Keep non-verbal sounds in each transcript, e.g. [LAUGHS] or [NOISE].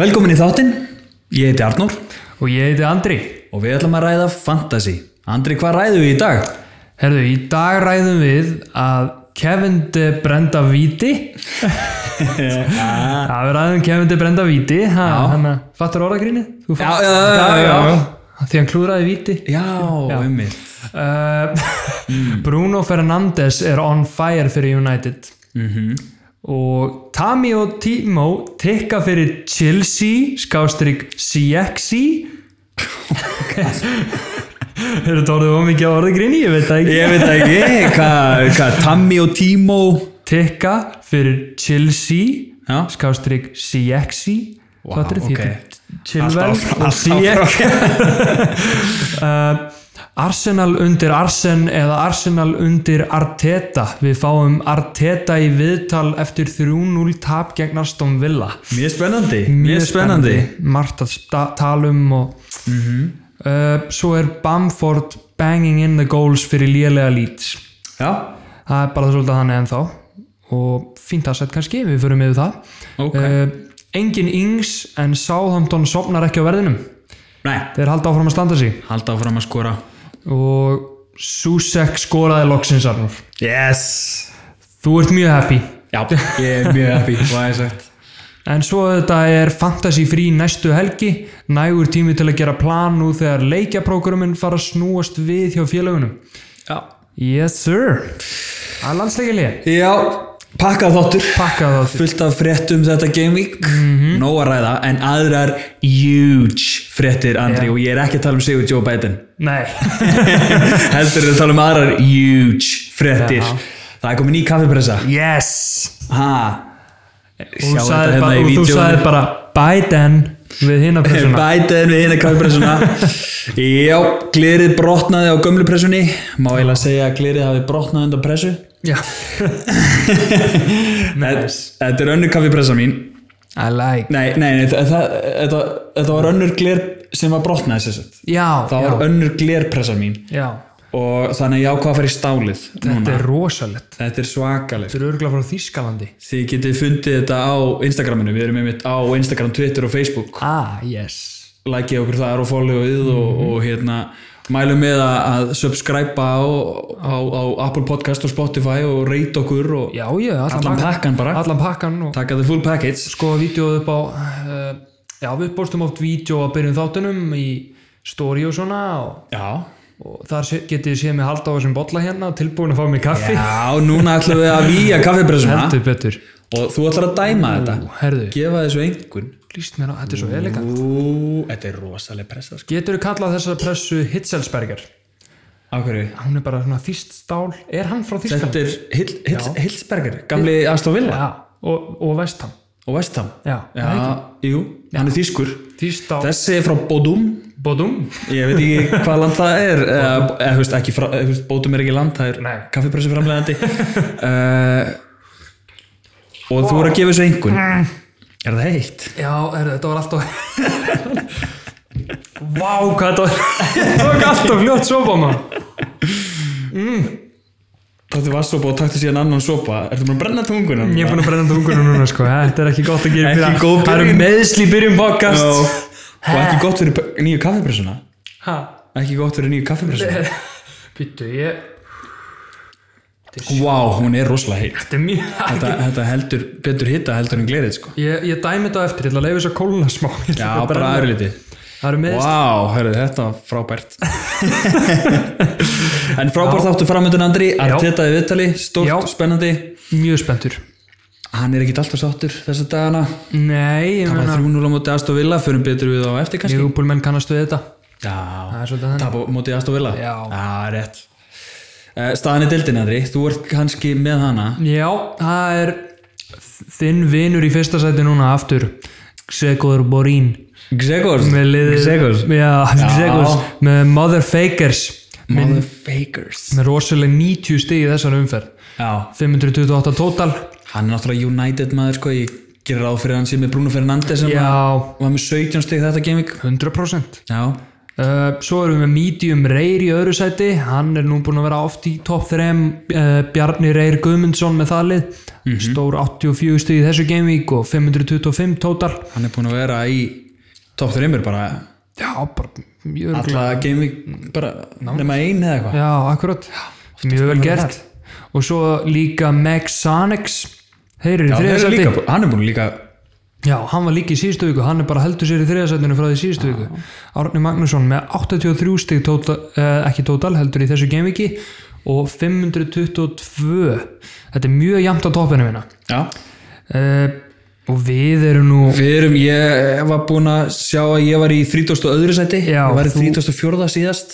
Velkomin í þáttinn, ég heiti Arnór Og ég heiti Andri. og við ætlum að ræða fantasy. Andri, hvað ræðum við í dag? Herðu, í dag ræðum við að Kevin De Brenda [LAUGHS] Víti. Það við ræðum Kevin De Brenda Víti. Ha, hana, fattur orðagrýni? Já, já, já, já, já. Því hann klúraði Víti. Já, ummið. Uh, [LAUGHS] Bruno Fernandes er on fire fyrir United. Mhm. Og Tami og Timo tikka fyrir Chelsea, skástrík [LAUGHS] [LAUGHS] CXC. Eru þetta orðið of mikið á orðagrýni? Ég veit það ekki. Ég veit það ekki, hvað, hvað, Tammy og Timo. Tikka fyrir Chelsea uh, Já. skástrík CXC Vá, hvað er því? ok. Chilwell Alltaf áfram, og alltaf CX uh, Arsenal undir Arsen eða Arsenal undir Arteta við fáum Arteta í viðtal eftir 3-0 tap gegn Aston Villa Mjög spennandi, mjög spennandi. Mhm. margt að sta- tala um og uh, svo er Bamford banging in the goals fyrir lélega lít Já, það er bara svolítið þannig ennþá og fínt að setja kannski, við förum yfir það Ok. uh, engin yngs en Southampton sopnar ekki á verðinum næ, þeir halda áfram að standa sig halda áfram að skora. og Susek skoraði loksins Arnur Yes! þú ert mjög happy Já, ég er mjög happy, hvað er sagt? en svo þetta er fantasy frí næstu helgi nægur tími til að gera plan nú þegar leikjaprógramin fara að snúast við hjá félagunum Já. yes sir að landsleikilega Já, pakkað þáttur. pakka það til fullt af fréttum um þetta Game Week mm Mhm. að ræða, en aðrar huge fréttir Andri Já. og ég er ekki að tala um Sigur Joe Biden [LAUGHS] nei, [LAUGHS] heldur er að tala um aðrar huge fréttir Já. það er komin ný kaffipressa yes ha, og sjá þú þetta sagðir hérna bara, í og þú vídeóinu. sagði bara Biden við [LAUGHS] hinn að pressuna Biden við hérna [LAUGHS] kaffipressuna já, glirið brotnaði á gömlu pressunni má eiginlega segja að glirið hafi brotnað undan pressu já [LAUGHS] nice. þetta er önnur kaffipressa mín I like nei, nei, nei það, það, þetta, þetta var önnur glir sem var brotnaði sér sett já, það já, var önnur glerpressa mín já, og þannig að ég ákvað að fara í stálið þetta er rosalett þetta er svakalegt þetta er örgulega frá Þískalandi þið getið fundið þetta á Instagraminu við erum einmitt á Instagram, Twitter og Facebook ah, yes likeið okkur þar og followið og, og hérna mælum með að, að subscriba á, á, á Apple Podcast og Spotify og reyta okkur og já, já, allan, allan pakkan bara allan pakkan og taka the full package skoða vídeo upp á uh, já, við bóstum oft vídeo að byrjum þáttunum í story og svona og, já, og þar sé- getið séð mig halda á þessum bolla hérna tilbúin að fá mig kaffi já núna ætlum við að výja kaffipressuna heldur betur og þú ætlar að dæma þetta herðu, gefa þessu einhvern líst mér á, þetta er svo elegant Ú, þetta er rosaleg pressa sko. Getur þú kallað þessa pressu Hitzelsberger? á hverju? Hún er bara svona þýst stál. Er hann frá Þýskalandi? Þetta er Hill, Hill, Hillsberger, gamli Aston Villa Já, og, og Vestham. og Vestham. Já, Já, jú, hann er þýskur. þýst stál. Þessi er frá Bodum, Bodum? ég veit [LAUGHS] ekki hvað land það er, eða eða, þú veist, ekki frá, þú veist, Bodum er ekki land, það er Nei. kaffipressu [LAUGHS] framlegandi. og þú voru að gefa þessu einhvern. Er það heitt? Já, er, þetta var alltaf... Vá, hvað þetta var... [LAUGHS] þetta var alltaf fljótt sopa, maður. Tóttu vassopa og taktu síðan annan sopa, ertu búin að brenna tunguna? Ég er búin að brenna tungunum núna, sko. Ja, Þetta er ekki gott að gera Ekki það. góð Það eru byrjun. meðsli byrjum podcast. Og, og ekki gott fyrir nýju kaffipressuna. Ha, Ekki gott fyrir nýju [LAUGHS] kaffipressuna. byttu, ég... Vá, hún er rosalega heitt. Þetta er mjög... þetta, þetta heldur betur hitta heldur en glerið sko Ég, ég dæmi þetta á eftir, ég ætla að leifa þess að kólna smá. Ég ætla já, að bara brenna. aðri liti Það eru meðsli. Vá, hörðu, þetta var [LAUGHS] frábært En frábært þáttu framöndun Andri Arteta í viðtali, stórt, Já. spennandi Mjög spenntur. Hann er ekkit alltaf sáttur þessa dagana Nei, ég Það var meina þrjúnul á móti Astor Villa, förum betur við á eftir kannski Liverpool menn kannast við þetta Já, Það er svolítið þannig tap á móti Astor Villa Já. rétt Eh, Staðan í dildin Andri, þú ert kannski með hana Já, það er þinn vinur í fyrsta sæti núna aftur Gregor Borín Gregor með liðið Gregor Já, Gregors með Mother Fakers Motherfakers með rosalega 90 stig í þessar umferð Já, 528 total Hann er náttúrulega United maður sko, ég gerir ráð fyrir að hann sé með Bruno Fernandes sem Já, var með 17 stygg þetta gaming 100% Já, Uh, svo erum við með Medium Reyr í öðru sæti, hann er nú búinn að vera oft í top 3, uh, Bjarni Reyr Guðmundsson með það lið, stór 84 stig í þessu gameweek og 525 total. hann er búin að vera í top 3 bara Já, bara mjög vel. alla gaming bara nema ein eða eitthvað Já, akkurat, mjög vel gert. Og svo líka Meg Sanex, þeir eru í Já, þeir þriða eru sæti. líka, hann er búin líka Já, hann var líka í síðustu viku, hann er bara heldur sér í þriðasætinu frá því síðustu viku. Árni Magnússon með 83 stig, tóta, eh, ekki tótal, heldur í þessu geimviki og 522. Þetta er mjög jamt á toppinu minna. já. Eh, og við erum nú... við erum, ég var búin að sjá að ég var í 30. öðru sæti Já, ég var í þú- 34. síðast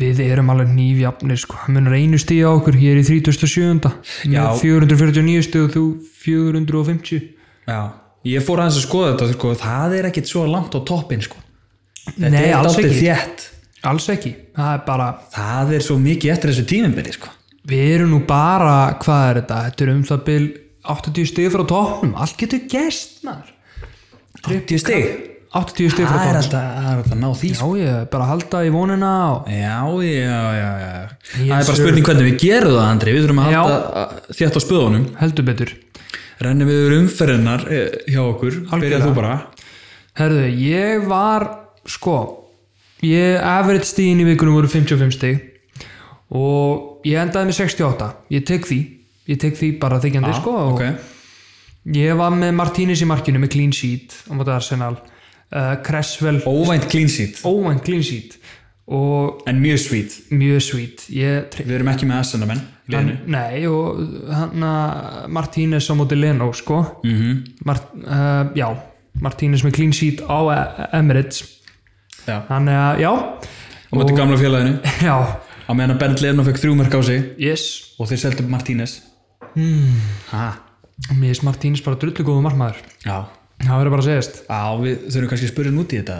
Við erum alveg nýfjafnir sko, hann munur einu stíð á okkur, ég er í 37. Já. með 449 stíð og þú 450. já. ég fór aðeins að skoða þetta sko. það er ekkit svo langt á toppin sko. þetta Nei, er alls dálítið ekki. þétt Alls ekki, það er bara, það er svo mikið eftir þessu tímimbili sko. Við erum nú bara, hvað er þetta? Þetta er um það byl 80 stig frá toppnum, allt getur gest maður. 80 stig 80 stig frá það er toppnum. alltaf það er alltaf að ná því sko. Já, ég er bara að halda í vonina og... Já, já, já, já. Ég Það er bara sver- spurning hvernig við gerum það, Andri. Við þurfum að Já. halda að- þétt á spöðunum. heldur betur. Rennum við yfir umferðinnar eh, hjá okkur. Byrjað þú bara. Herðu, ég var, sko, ég average stíðin í vikunum voru 55 stig og ég endaði með 68. Ég tek því, ég tek því bara þykjandi, sko. og- ok. Ég var með Martínez í markinu með clean sheet á móti Arsenal. Uh, Cresswell, Óvænt clean sheet, óvænt clean sheet og en mjög sweet. mjög svít ég treysti Við erum ekki með aðsendamenn í liðinu. nei og hann að Martínez á móti Leno sko Mm Mart, uh, já, Martínez með clean sheet á E- Emirates Já. hann er að, já Og mútið gamla félaginu. já, Á meðan að Bernd Leno fekk þrjú mörg á sig yes og þeir seldu Martínez. Hmm. Mm. Ha, mér er Martínez bara drullu góðu markmaður já. það verður bara að segjast Já, við þurfum kannski að spyrja út í þetta.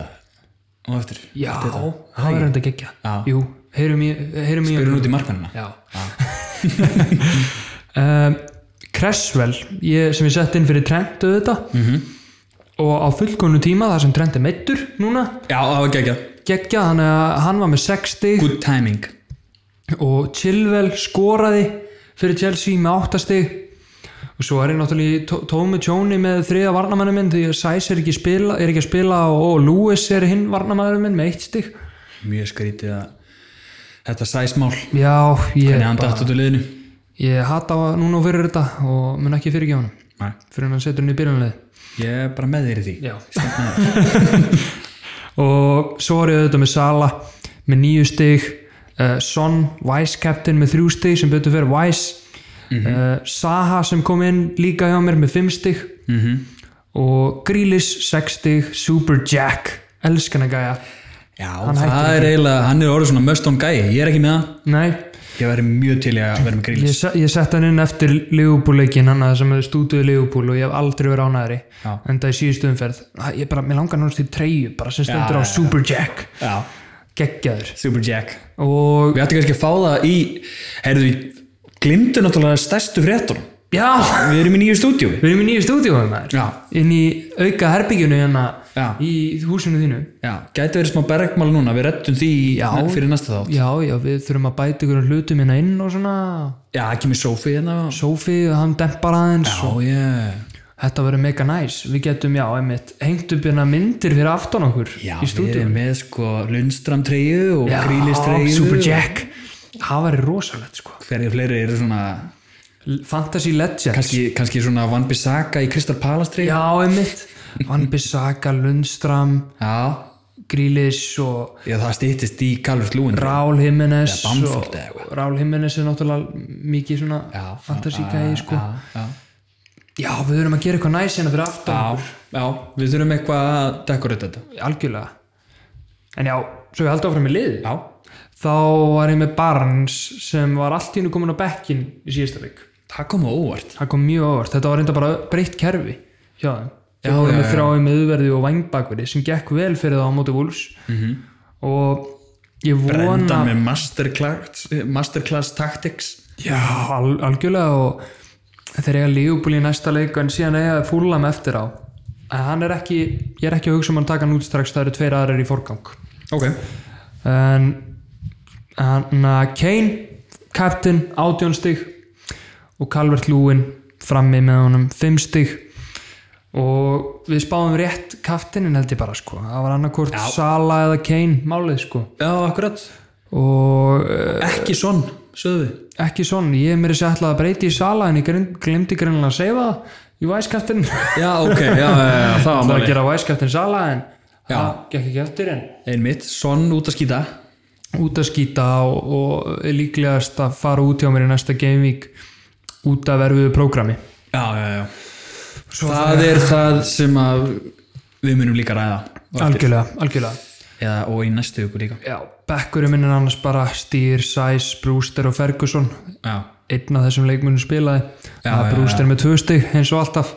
Og eftir. já, Þetta. það verður enda gegja Já. jú, heyrum í heyrum í Spyrja út í markmennina. já [LAUGHS] um, Cresswell ég, sem ég sett inn fyrir Trent auðvitað og á fullkonu tíma þar sem Trent er meittur núna Já, það var geggjað. geggja, hann, hann var með 60 Good timing. og Chilwell skoraði fyrir Chelsea með 8 stig og svo er ég náttúrulega í tó- tómi tjóni með þriða varnamannu minn því að Sæs er ekki, spila, er ekki að spila og, og Lewis er hinn varnamannu minn með 1 stig Mjög skrítið að þetta sæsmál. já, ég, Þannig að hann datt út úr liðinu. ég hata á- núna og fyrir þetta og mun ekki fyrirgefa hann Nei. fyrir hann setur hann í byrjanlega Ég er bara með þér í því. já [LAUGHS] og svo er ég auðvitað með Sala með 9 stig uh, Son, Vice Captain með 3 stig sem betur fyrir Vice Mhm. uh, Saha sem kom inn líka hjá mér með 5 stig Mhm. og Grealish 6 stig Super Jack, elskan að gæja Já, hættir það er eiginlega, hann er orðið svona must on guy. Ég er ekki með hann. nei, Ég væri mjög til í að vera með grílis. ég, se- ég sett hann inn eftir Leopold-leikin hann að sem hefur stútuð Leopold og ég hef aldrei verið ánæðri Já. en það er síðustu umferð Æ, ég bara, mér langar náttúrulega til treyju bara sem stendur já, á já. Super Jack Já, geggjaður Super Jack. og Við ættum kannski að fá það í, heyrðu, við glimtu náttúrulega stærstu fréttunum. já Við erum í nýju stúdíu. Við erum í nýju stúdíóið maður Já. Inn í auka herbyggjunu hérna Já. Í húsinu þínu Já, gæti verið smá bergmál núna, við rettum því Já. fyrir næsta þátt. Já, já, við þurfum að bæta ykkur hlutum hérna inn og svona Já, ekki með Sophie hérna. Sofi, hann dempar aðeins Já, ég. Þetta verður mega næs Við getum, já, einmitt, hengt upp hérna myndir fyrir aftan okkur Já, Í við stúdíóið erum með sko Lundstram treyju og Grílis treyju. Super Jack Það verður rosalegt, sko Hverju fleiri eru svona L- Fantasy Legends kannski, kannski svona Van Bissaka í Kristal Palastri Já, einmitt Van Bissaka, Lundstram já, Grealish og já það stýttist í Calvert Lúin Rál Jimenez Eða Bamford og- eða eitthvað. Raúl Jimenez er náttúrulega mikið svona Já, fantasíkæði sko. já, já. já, við þurfum að gera eitthvað næs hérna fyrir aftan já, já, við þurfum eitthvað að dekorita þetta algjörlega en já, svo ég haldi áfram í lið já, þá var ég með Barnes sem var allt í hennu komin á bekkin í síðasta leik það kom á óvart það kom mjög óvart, þetta var reynda bara breytt kerfi hjá þeim Já, þeir voru já, með já. þrái meðverði og vangbakverði sem gekk vel fyrir það á móti vúls -hmm. og ég vona Mhm. brendan með masterclass, eh, masterclass tactics Já, al algjörlega og þeir eiga Leopold í næsta leik en síðan eiga þeir fúlam eftir á en hann er ekki, ég er ekki að hugsa um að taka hann út strax það eru tveir aðrir í forgang ok, en hann að Kane Captain, 18 stig og Calvert Lúin frammi með honum 5 stig og við spáðum rétt kaftinin held ég bara sko, það var annarkvort Sala eða Kane málið sko Já, akkurat og eh, Ekki svon, sögðu við ekki svona, ég er mér að segja ætlaði að breyti í Sala en ég glemdi greinlega að segja það í væskaftin Já, ok, já, já, já, það var það að máli gera væskaftin Sala en Já. það gekk ekki eftir en Einmitt, svon út að skýta út að skýta og, og er líklegast að fara út hjá mér í næsta gamevík út af erfiðu prógrami Já, já, já Það er það sem að við munum líka ræða á eftir. algjörlega, algjörlega Eða, og í næstu ykkur líka já, bekkurinn minn er annars bara Stýr, Sæs, Brewster og Ferguson Já, einn af þessum leikmunum spilaði Já, það já, er Brewster með tvö stig eins og alltaf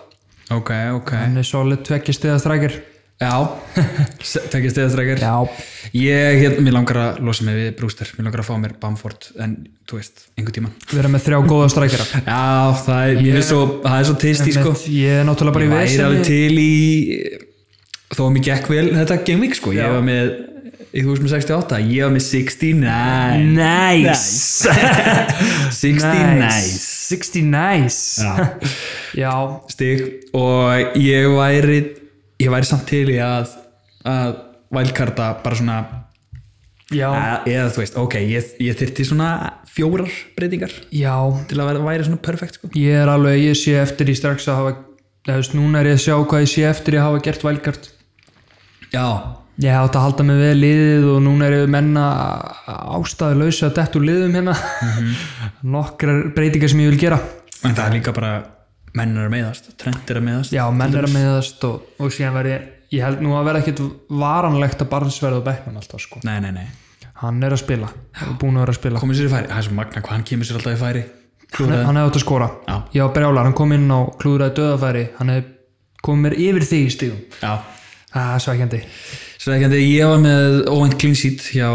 ok, ok hann er solid tvekki stiða strækir [LAUGHS] Já, tekja stegastrækir já, Ég, hérna, mér langar að losa mig við Brewster Mér langar að fá mér Bamford En, þú veist, einhver tíman vera með þrjá góða strækira Já, það er, ég er svo, það er svo tasty sko ég er náttúrulega Ég bara í væri alveg vesinni til í þó að mér gekk vel þetta gameweek sko, ég var með í 1068, ég var með 69 nice 69 nice. 60 nice [LAUGHS] já, stig og ég væri ég væri samt til í að að vælkarta bara svona já, að, eða þú veist, ok, ég, ég þyrti svona fjórar breytingar já til að væri, væri svona perfekt sko ég er alveg, ég sé eftir í strax að hafa eða þú veist, núna er ég að sjá hvað ég sé eftir að hafa gert vælgart Já, ég átt að halda mig við liðið og núna er ég menna ástæðu lausa að dettu liðum hérna Mhm. [LAUGHS] nokkrar breytingar sem ég vil gera en það er líka bara menn er að meðast, trend er að meðast já, menn er að meðast og, og síðan verði ég, ég held nú að vera ekkit varanlegt að barnsverða á bekknum alltaf sko Nei, nei, nei hann er að spila, er búin að vera að spila komið sér í færi, það er svo magna hvað hann kemur sér alltaf í færi hann, Klúðraði. hann hefði átt að skora Já. ég var brjálar, hann kom inn á klúðraði döðafæri hann hefði komið mér yfir þig í stíðum Já, það er svækjandi Sveikandi, ég var með óvænt clean sheet hjá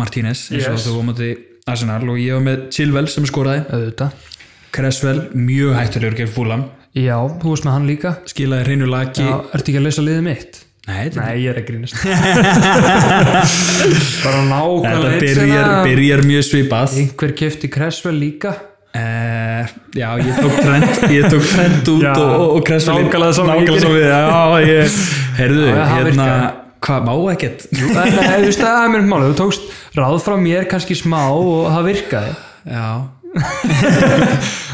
Martínez eins og Yes. þú komandi Arsenal og ég var með Chilwell sem skoraði auðvitað Cresswell, mjög hættulegur gegn Fulham Já, þú veist með hann líka skilaði hreinu laki Já, ertu ekki að lesa liðið mitt? Nei, þetta, Nei, ég er að grínast [LAUGHS] Bara þetta nákvæmlega einn byrjar, sem að- byrjar mjög svipað uh, Einhver kefti Cresswell líka Eh, Já, [LAUGHS] ég tók trend ég tók trend út Já, og, og- og Cresswell nákvæmlega sama nákvæmlega líkin. svo við Já, ég, heyrðu, Já, það hérna virkaði. hvað má ekkert Nei, nei, Þú veist, það er mér mál Þú tókst ráð frá mér kannski smá og það virkaði Já,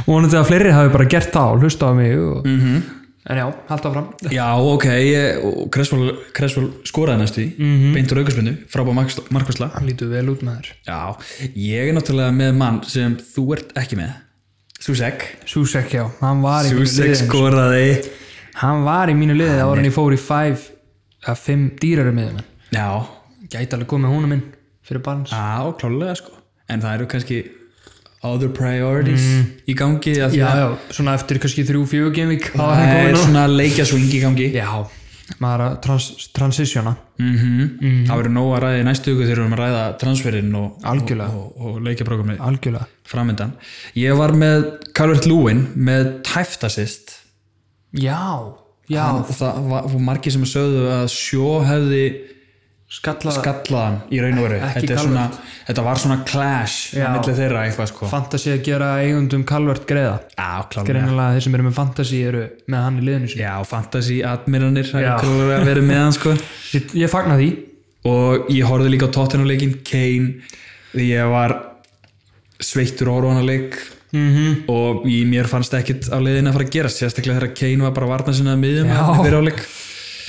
og vonandi að fleiri hafi bara gert það og hlusta á mig og... -hmm. En já, halda fram já ok ég- og Cresswell, Cresswell skoraði næstu í mm -hmm. beintur aukurspunni, frábæð markvæsla Hann lítur vel út með þér Já, ég er náttúrulega með mann sem þú ert ekki með Susek Susek, já, hann var í mínu Susek liðið skoraði Hann var í mínu liðið ára en ég fór í 5 að 5 dýrarum miðum Já, Gæti alveg komið húnum minn fyrir barns á, klálega sko En það eru kannski other priorities í gangi af því Mm. já, að já, svona eftir kannski þrjú, fjögur gaming þá er Það hann er komin á svona leikja swing í gangi já, maður að trans, transitiona mm Það verður nóg að ræða í næstu ykkur þegar við erum að ræða transferinn og, Algjörlega. og, og, og leikjaprógrammi algjörlega, framöndan Ég var með Calvert Lúin með tæftasist já, já og það var og margir sem sögðu að sjó hefði skalla, skallaðan í raun og veru Ekki þetta, er svona, þetta var svona clash Já. mellið þeirra eitthvað sko fantasy að gera eigundum kalvert greiða já, klálega greinilega þeir sem eru með fantasy eru með hann í liðinu sín já, fantasy admiranir það Já. er klálega að vera með hann [LAUGHS] sko ég, ég fagna því, og ég horfði líka á Tottenham-leikin Kane, því ég var sveittur orðanarleik mm Mhm. -hmm. og í mér fannst ekkit á leiðin að fara að gerast, sérstaklega þegar Kane var bara varna sinna að miðjum Já. fyrir áleik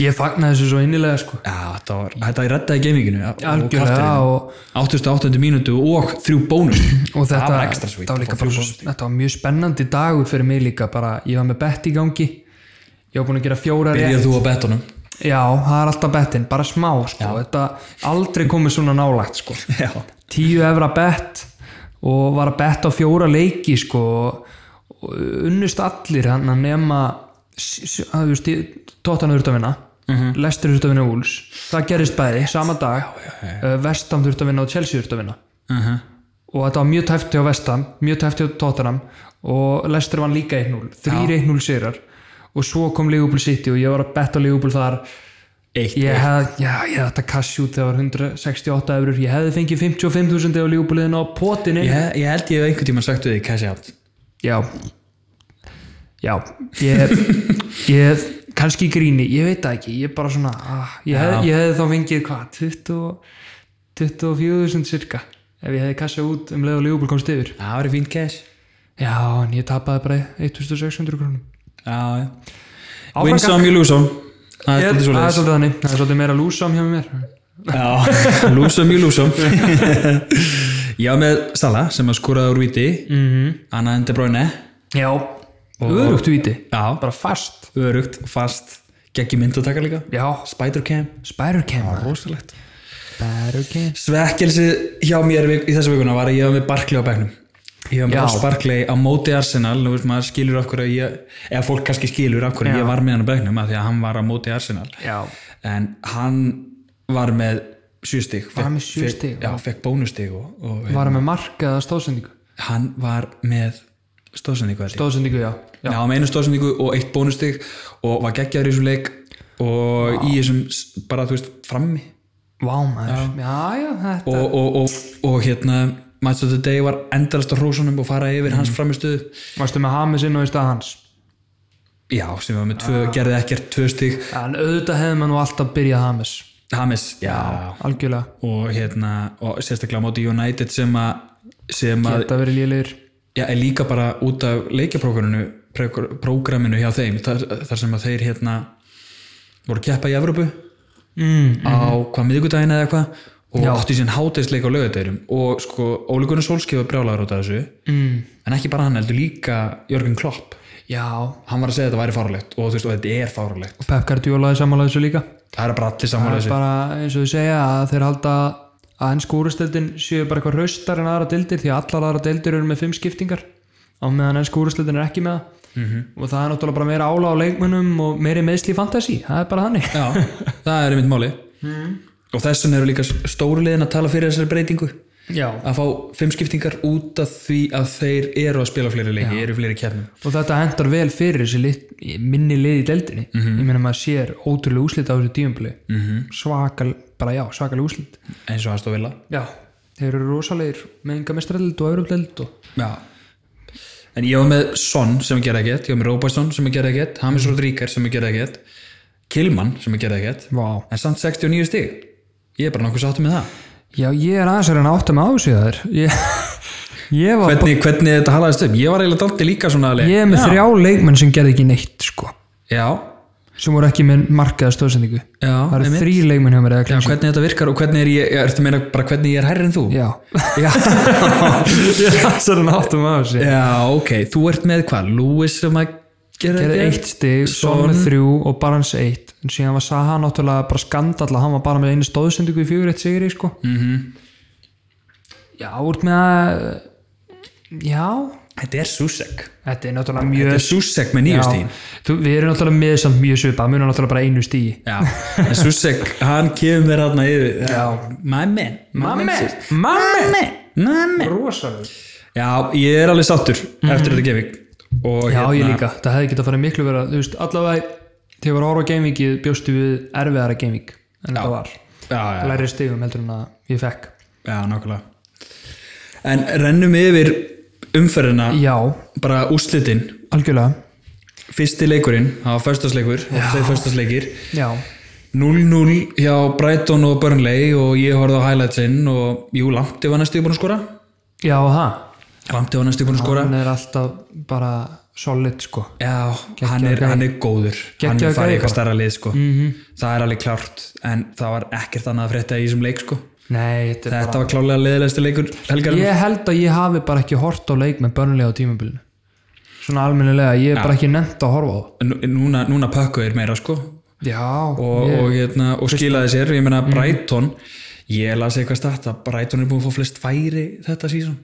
ég fagna þessu svo innilega sko já, þetta var, þetta reddaði gaminginu já, og algjörlega krafturinn. og, 88. mínútu og þrjú bónus og þetta það var ekstra sweet þetta var að líka fá bara þrjú svo, bónus. þetta var mjög spennandi dagur fyrir mig líka bara, ég var með bett í gangi ég var búin að gera fjóra byrjað þú á betunum Já, það er alltaf bettin, bara smá sko. þetta aldrei komið svona nálægt sko. já tíu efra bett og var að betta á fjóra leiki sko. og uh, unnust allir hann að nema tóttan þurft að vinna Mhm. lestir þurft að vinna úls það gerist bæði, sama dag Eh, vestam þurft að vinna og Chelsea þurft að vinna uh og þetta var mjög tæft hjá Vestam mjög tæft hjá Tottenham og Leicester vann líka 1-0, 3-1-0 sigrar og svo kom Liverpool City og ég var að betta á Liverpool þar eitt Ég hef, já, ég hef þetta cash út þegar var 168 eurur, ég hefði fengið 55.000 ef lífbúliðin á potinu ég, ég held ég hef einhvern tímann sagt við því cash out Já Já, ég, ég kannski í gríni, ég veit það ekki ég er bara svona, ah, ég, hef, Já. ég hefði þá fengið hvað, 20 24.000 cirka ef ég hefði kassað út um leið og Leopold komst yfir það var fín cash Já, en ég tapaði bara 1600 krónum já, já. Áfram win some, you lose some það Ég- er svolítið Það er svoleiðis svolítið þannig, það er svolítið meira lúsam hjá mér Já, [LAUGHS] lúsum í lúsum Já, með Sala sem að skoraði úr viti mm -hmm. Mhm. Anna en De Bruyne Já, örugt víti Já, bara fast örugt og fast geggi myndataka líka Já, Spidercam, Spider-Cam rosalegt Spider-Cam Svekkelsi hjá mér vik- í þessu vikuna var að ég var með Barkley á bekknum Ég var með Já. Ross Barkley á móti Arsenal Nú veist maður skilur af hverju ég eða fólk kannski skilur af hverju Já. ég var með hann á bekknum af því að hann var á móti Arsenal Já, en hann var með sjö stig Var hann með Fekk- sjö fekk- stig? Já, fekk bónustig og, og var hann með markaða stóðsendingu hann var með stóðsendingu held ég. Stóðsendingu, já, Já, já. hann var með einu stóðsendingu og eitt bónustig og var geggjaður í þessum leik og í þessum s- bara, þú veist, frammi Vá maður, já, já, þetta og, og, og, og hérna Match of the Day var endalast á hrósunum og fara yfir hans framistuð Varstu með Hamis inn og í stað hans Já, sem var með tvö, gerði ekkert tvö stig En auðvitað hefði maður nú alltaf byrjað Hamis Hamis, já Algjörlega, og hérna, og sérstaklega á móti United sem að sem að, þetta verið lélegir já, er líka bara út af leikjaprógraminu prógr- prógraminu hjá þeim, þar, þar sem að þeir hérna voru að keppa í Evrópu mm. á hvað miðgudaginn eða eitthvað og Já. átti sín hátisleik á lögadeirum og sko Óli Gunnar Solskjöf var brjálagur út af þessu Mm. en ekki bara hann heldur líka Jörgen Klopp Já, hann var að segja að þetta væri fárlegt og þú veist og þetta er fárlegt og Pep Guardiola er sammálaðið þessu líka það er bara allir saman Það er þessu bara eins og þau segja að þeir halda að enn skúrustildin séu bara eitthvað raustar en aðra deildir því að allar aðra deildir eru með fimm skiptingar á meðan enn skúrustildin er ekki með það og það er náttúrulega bara meira ála á leikmönnum og meiri meðsli fantasi, það er bara Mm. þannig já, það er einmitt máli og þess vegna eru líka stóru liðin að tala fyrir þessari breytingu Já, að fá fimm skiptingar út af því að þeir eru að spila fleiri leiki, eru í fleiri kefnum og þetta hendar vel fyrir þessi lit, minni lið í deildinni ég meina maður sér ótrúlega úslit á þessu tíumbli mm -hmm. svakal, bara já, svakal úslit eins og aðstof vilja já, þeir eru rosalegir með enga mestræld og öðrumdeld og Já. En ég var með Son sem ég gerði ekkert, ég var með Robertson sem ég gerði ekkert, Hamis Rodríker sem ég gerði ekkert, Kilman sem ég gerði ekkert, Vá. en samt 69 stig. Ég er bara nokkuð sáttu með það. já, ég er aðeins að reyna átt að maður þessu þar ég, [LAUGHS] ég var bara, Hvernig, hvernig þetta halaðist um? Ég var eiginlega dalti líka svona alveg. ég er með Já. þrjá leikmenn sem gerði ekki neitt sko, Já, sem voru ekki með markaða stóðsendingu já, það eru einmitt. þrý leikmenn hjá mér eða Já, klínsinn. hvernig þetta virkar og hvernig er ég, ertu meina bara hvernig ég er hærri en þú? já, [LAUGHS] Já. [LAUGHS] ég er aðeins að reyna átt að maður þessu Já, ok, þú ert með hvað? Lewis sem að gera gerði eitt stig, Son með þrjú og Barnes eitt en síðan var Saha náttúrulega bara skandalla hann var bara með einu stóðsendingu í fjögur eitt sigri sko mm Mhm. -hmm. já, úr með að já, Þetta er Susek. þetta er náttúrulega Þetta mjög er Susek með nýju stíðin. já, þú, við erum náttúrulega með samt mjög svipa mjög náttúrulega bara einu stígi Já, en Susek, hann kemur mér hérna yfir Já, mammi mammi, Mammi rosalega Já, ég er alveg sáttur eftir þetta gefing og Mhm. hérna- já, ég líka, það hefði getað farið miklu vera þú veist, allavega þegar var ára gamingið bjóstu við erfiðara gaming en þetta var, Já, já, læri stigum heldur en að ég fekk já, nákvæmlega En rennum yfir umferðina já, bara úrslitin, algjörlega fyrsti leikurinn það var förstasleikur, þeir förstasleikir Já, 0-0 hjá Brighton og Burnley og ég horfði á highlightsinn og jú, Lampti var næstu búin að skora já það Lampti var næstu búin að skora hann er alltaf bara solid sko Já, hann er, hann er góður hann Geggjaður er farið í gæi Mhm. eitthvað starra lið sko. -hmm. það er alveg klárt en það var ekkert annað að frétta í þessum leik sko. Nei, þetta er þetta var klálega leðilegstu leikur bara helgarinn Ég held að ég hafi bara ekki hort á leik með börnlega á tímabilinu Svona almennilega, ég er bara ekki nefnt að horfa á það Nú- núna, núna pökkuð er meira sko. Já, og, og, hérna, og skilaði sér ég Mhm. meina Brighton ég las eitthvað stætt að Brighton er búin að fá flest færi þetta sísón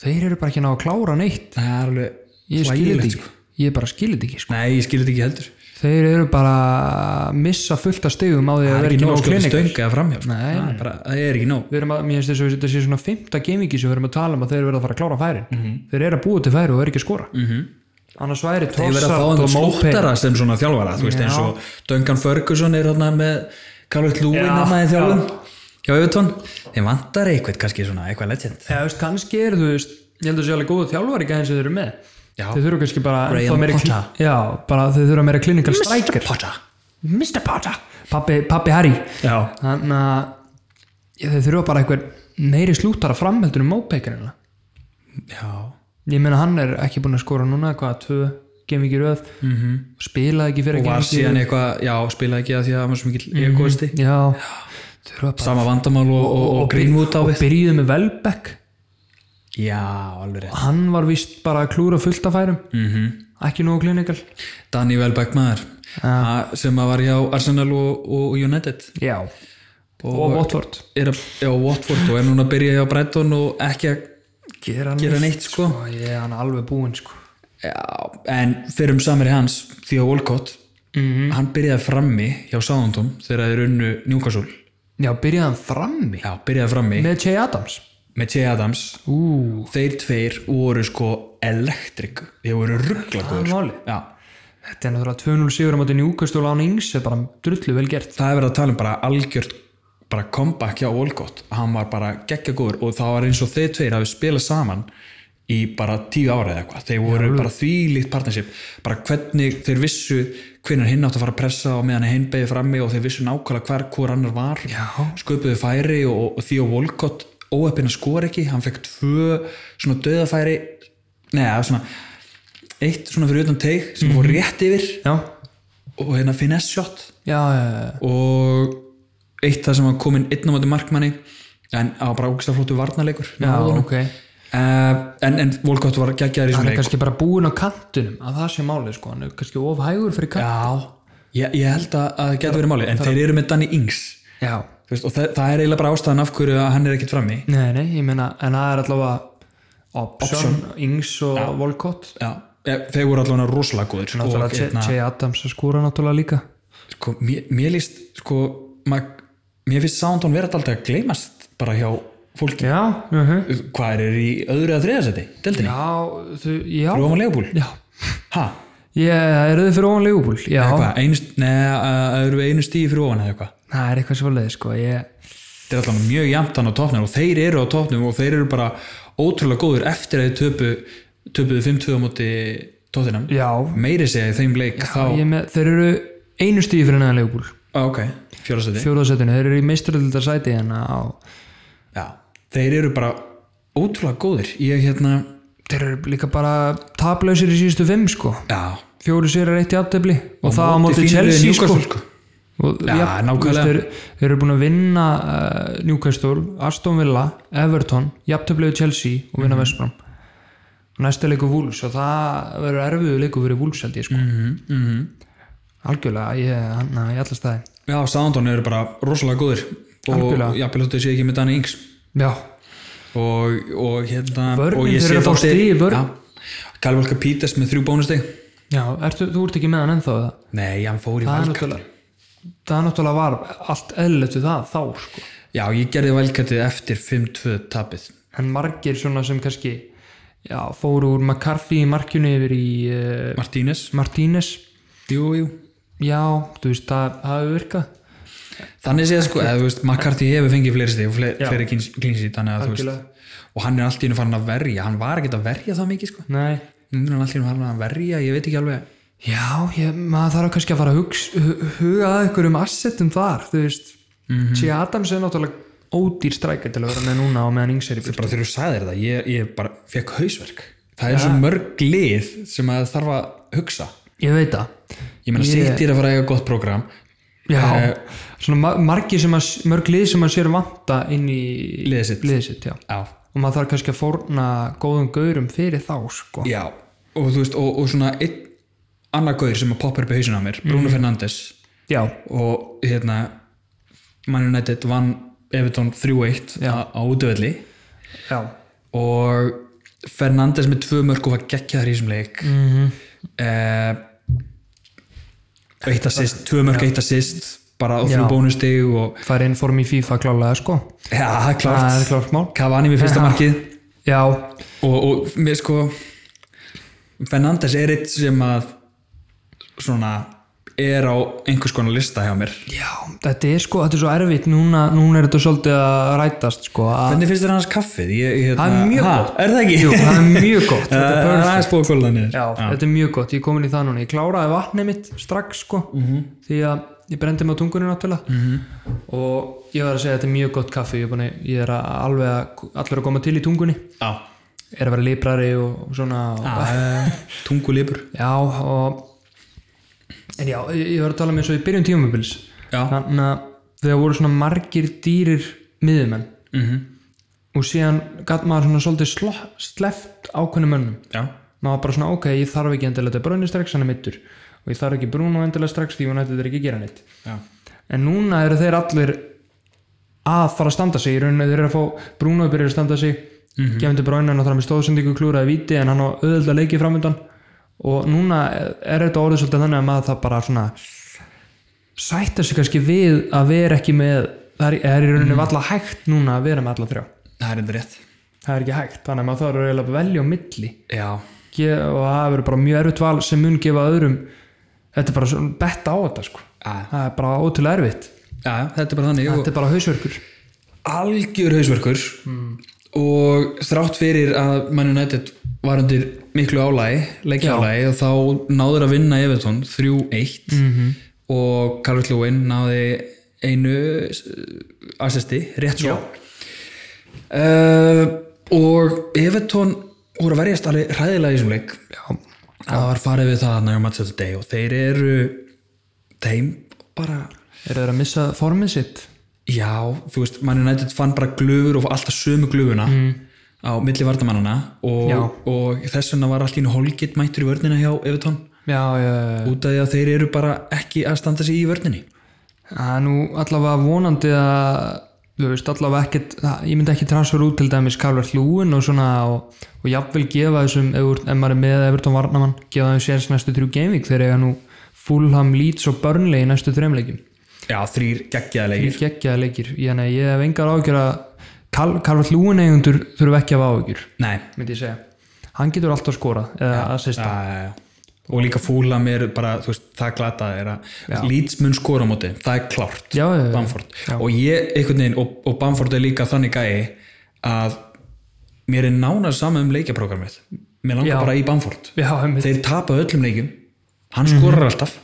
þeir eru bara ekki að ná að klára neitt það er alveg Ég skilir þetta hlægilegt, ekki, ég bara skilir þetta ekki sko. nei, ég skilir þetta ekki heldur Þeir eru bara að missa fullt af stegum á því það að er vera ekki ekki nóg nóg að skjóta klinik stönga eða framhjá sko. Nei, það, er bara, það er ekki nóg Við erum að, mér finnst þess að þetta sé svona fymta gamingi sem við erum að tala um að þeir eru verið að fara að klára færin Mhm. Þeir eru að búa til færi og eru ekki að skora -hmm. Annars væri Þeir verða að fá Trossard og einhvern Mopey slóttara sem svona þjálfara, þú veist eins og Duncan Ferguson er hérna með Carlos Lúin Já, nema í já. þjálfun hjá Evertón þeim vantar eitthvað kannski svona eitthvað legend Já, veist, kannski er þú veist, ég held að sé alveg góðu þjálfari gæðin sem þeir eru með. Já. Þeir þurfa kannski bara Graham ennþá meiri kli- Potter. Já, bara þeir þurfa meira klinikal strækir. Potter Mr. Potter. Pappi, pappi Harry. Já, Þannig að ég, þeir þurfa bara eitthvað meiri slúttara framheldur um mópeikarina. já Ég meina hann er ekki búinn að skora núna, hvað, tvö, gemviki röð, mm -hmm. spilaði ekki fyrir og var Genk í- síðan eitthvað, já, spilaði ekki að því að hann var svo mikil egoisti Já, þurfa bara sama vandamál Mhm. og, og, og Greenwood á og við byrjuðu með Velbeck Já, alveg rétt hann var vist bara að klúra fullt af færum -hmm. ekki nógu klinikal Danny Welbeck maður ha, sem að var hjá Arsenal og, og United já, og, Watford er að, já, Watford og er núna að byrja hjá Brighton og ekki að gera gera neitt sko ég er hann alveg búinn sko já, en fyrir um samir hans Theo Walcott hann byrjaði frammi hjá Southampton þegar þeir unnu Newcastle já, byrjaði hann frammi já, byrjaði frammi með Che Adams með Jay Adams ú, þeir tveir voru sko elektrik þeir voru það rugglagóður er máli já, þetta er náttúrulega 2-0 sigur á móti njúkastúl án yngs er bara drullu vel gert það er verið að tala um bara algjört bara comeback hjá Olgott hann var bara geggjagóður og það var eins og þeir tveir hafi spilað saman í bara tíu ára eða eitthvað þeir voru bara þvílíkt partnership bara hvernig þeir vissu hvernig hinn átt að fara að pressa og meðan hinn beigði frammi og þeir vissu nákvæmlega hver hvor annar var Já. sköpuðu færi og, og því og Olgott óöppin að skora ekki hann fekk tvö svona döðafæri neða svona eitt svona fyrir utan teig sem fór rétt yfir já, og hérna finesse shot já, já, og eitt það sem var komin einn á móti markmanni en á bara ógæslega flóttu varnarleikur já, já ok uh, en, en Volkott var geggjaður í hann svona er leik kannski bara búinn á kantunum að það sé máli sko, hann er kannski ofhægur fyrir kant já, ég, ég held að að það getur verið máli en þeir eru með Danny Ings já. þú veist, og það, það er eiginlega bara ástæðan af hverju að hann er ekkit frammi Nei, nei, ég meina, en það er allavega Option, Ings og Volkott já, ég, þeir voru allavega rosalega góðir Náttúrulega og, hérna, Che- Che Adams að skúra náttúrulega líka sko, mér, mér líst sko, mað, mér finnst Soundon vera alltaf að gleymast bara hjá fólki Já, uh -huh. hvað er í öðru að þriðasetti, deldinni, já, þú, já, Róma Leopold já hæ? Ég er þið fyrir ofan Leopool, já eitthvað, einu, neða, eru við einu stíði fyrir ofan eða eitthvað Það er eitthvað svo leið, sko ég, þetta er alltaf mjög jæmt hann á topnum og þeir eru á topnum og þeir eru bara ótrúlega góður eftir að þeir töpu töpuðu 5-2 á móti tóttinam Já, meiri segja í þeim leik þá, ég með, þeir eru einu stíði fyrir neðan Leopool á, ok, fjórastæti Fjóðarsætinu, þeir eru í meistaröldar sæti en á, já, þeir eru bara ótrúlega góðir ég hérna, þeir eru líka bara taplausir í síðustu fimm, sko já, Fjóru sér er eitt í aftefli og, það á móti móti fínu Chelsea, sko Newcastle, sko. og, Já, nákvæmlega. þú veist, þeir, þeir eru búin að vinna uh, Newcastle, Aston Villa Everton, jafntöflegu Chelsea og Mhm. vinna mm -hmm. Vestbrom næsta leikur Wolves og það verður erfiðu leikur fyrir Wolves held ég sko Mm, mm. algjörlega, ég, hérna hann, ég allast það já, Sándón eru bara rosalega góður Algjörlega. og jafnvel þóttu sé ekki með Danny Ings já, og, og hérna Vörnin, og ég sé þeir eru að fá dálítið- stig í vörn. já, Kalvalka Píters með þrjú bónusteg já ertu, þú ert ekki með hann ennþá það, Nei, hann fór í það valkatið. er náttúrulega það náttúrulega var allt eðlötu það þá sko, Já, ég gerði valkatið eftir 5-2 tapið. en margir svona sem kannski já, fóru úr McCarthy í markjunni yfir í uh, Martínez? Martínez Jú, jú. já, þú veist, það það hefur virkað Þannig séð sko, eða þú veist, McCarthy hefur fengið fleiri stíð og fle Já. fleiri klinsið, þannig að þú Algjörlega. veist, og hann er allt í hennu farin að verja, hann var ekkert að verja það mikið sko. Nei. Nú er hann allt í hennu farin að verja, ég veit ekki alveg. Já, ég, maður þarf kannski að fara að hugsa, hu- huga að ykkur um assetum þar, þú veist. Mm Mhm. -hmm. Adams er náttúrulega ódýr strækja til að vera með núna og meðan Ings er í byrju. Bara þegar þú sagðir það, ég, ég bara fekk hausverk. Það er svo mörg lið sem að þarf að hugsa. Ég veit það. Ég meina, Ég- yeah. sýttir að fara að eiga gott prógram. Já, Eh. svona ma- margir sem að, s- mörg lið sem að sér vanta inn í Liðið sitt. liðið sitt, já. Já. Og maður þarf kannski að fórna góðum gaurum fyrir þá, sko. Já, og þú veist, og, og svona einn annar gaur sem að poppa upp í hausinu á mér, Bruno Mm. Fernandes, Já, og hérna Man United vann Everton 3-1 á á útvöldi já. og Fernandes með tvö mörg og var geggjaður í þessum leik mm eitt assist, tvö mörg eitt assist bara á þrjú Já. bónustig og Það er innform í FIFA klálega, sko. já, það er Það er klárt klárt mál. Cavani með fyrsta markið Já, og, og mér sko Fernandes er eitt sem að svona er á einhvers konar lista hjá mér Já, þetta er sko, þetta er svo erfitt núna, núna er þetta svolítið að rætast sko, [LAUGHS] að Hvernig finnst þér hans kaffið? Ég, hérna, Það er mjög Ha, gott. Er það ekki? Jú, það er [LAUGHS] mjög gott, Það þetta er er perfect. aðeins búið að kóla það niður Já, þetta er mjög gott, ég er komin í það núna ég kláraði vatnið mitt strax sko Mhm. -hmm. því að ég brendi mig á tungunni náttúrulega -hmm. og ég var að segja að þetta er mjög gott kaffi ég er, búin, að- ég er að alveg að, allir að koma til í tungunni Já, er að vera liprari og svona Ah, og, já. Tungulipur já og en já, ég, ég var að tala um eins og í byrjun tímabils Já. þannig að þegar voru svona margir dýrir miðumenn Mhm. og síðan gatt maður svona svolítið sló- sleppt ákveðnum mönnum Já, maður bara svona ok, ég þarf ekki endilega þetta brunni strax, hann er mittur og ég þarf ekki brúnu endilega strax því hún ætti þetta ekki að gera neitt já en núna eru þeir allir að fara að standa sig í rauninni þeir eru að fá brúnu að byrja að standa sig mm -hmm. gefndi brúnu hann þarf með stóðsendingu klúraði viti en hann á auðvitað leikið framöndan og núna er þetta orðið svolítið þannig að maður það bara svona sætta sig kannski við að vera ekki með það er, er í rauninni mm. valla hægt núna að vera með alla þrjá Það er enda rétt það er ekki hægt, þannig að maður þarf eiginlega að velja á milli Já, Ge- og það verður bara mjög erfitt val sem mun gefa öðrum þetta er bara svona betta á þetta sko. já, það er bara ótrúlega erfitt já, þetta er bara þannig og- Ah, þetta er bara hausverkur algjör hausverkur og þrátt fyrir að Man United var undir miklu álægi, leikjálægi og þá náður að vinna Everton 3-1 og Calvert Lewin náði einu eh, assisti, rétt svo uh, og Everton voru að verjast alveg hræðilega í þessum leik já, það var farið við það nægum match of the day og þeir eru þeim bara eru þeir að missa formið sitt Já, þú veist, Man United fann bara glöfur og alltaf sömu glöfuna á milli vardamannana Mm. Já. og, og þess vegna var allt í einu holgitt mættur í vörnina hjá Evertón já, já, já. út af því að þeir eru bara ekki að standa sig í vörninni það er nú allavega vonandi að þú veist, allavega ekkert það- ég myndi ekki transfer út til dæmis Karlvert Lúin og svona og, og jafnvel gefa þessum ef þú- ef maður er með Evertón Varnamann gefa þeim séns næstu þrjú geimvík þegar eiga nú Fulham, Leeds og Burnley í næstu þreimleikjum Já, þrýr geggjaðlegir þrír geggjaða leikir þannig að ég hef engar ágjör að Karl Lúin eigundur þurfum ekki að hafa ágjör Nei, myndi ég segja hann getur alltaf skora eða assista já, já og líka fúlam er bara, þú veist, það glata er að Leeds mun skora á móti það er klárt, Já, já, já. Bamford og ég, einhvern veginn, og, og Bamford er líka þannig gæi að mér er nánar saman um leikjaprógramið mér langar Já. bara í Bamford já, einmitt. þeir tapa öllum leikjum hann skorar Mhm. alltaf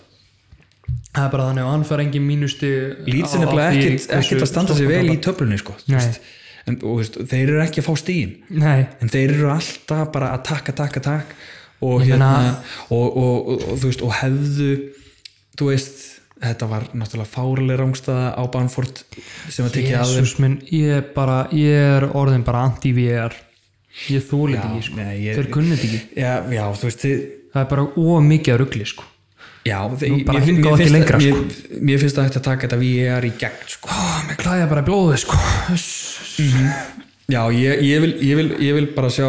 það er bara þannig að hann fær engin mínusti Leeds er nefnilega ekkit, ekkit að standa sig vel í töflunni sko, þú Nei. veist. en, og, þú veist, þeir eru ekki að fá stíin nei, en þeir eru alltaf bara að taka, taka, taka og, Ég hérna, meina- og, og, og, og, þú veist, og hefðu þú veist, þetta var náttúrulega fárileg rángstaða á Banford sem að tekja að þeim jesus minn ég er bara, ég er orðin bara anti-VR ég Já, þólið ekki sko. nei, ég- þeir kunnið ekki já, já, þú veist, þið það er bara ómikið að ruggli sko. já, þið, bara mér, fin- hingað mér, og ekki finnst, lengra, sko. mér, mér finnst að þetta taka þetta VR í gegn sko oh, mér klæði bara í blóðið sko. Mm. Já, ég, ég, vil, ég, vil, ég vil bara sjá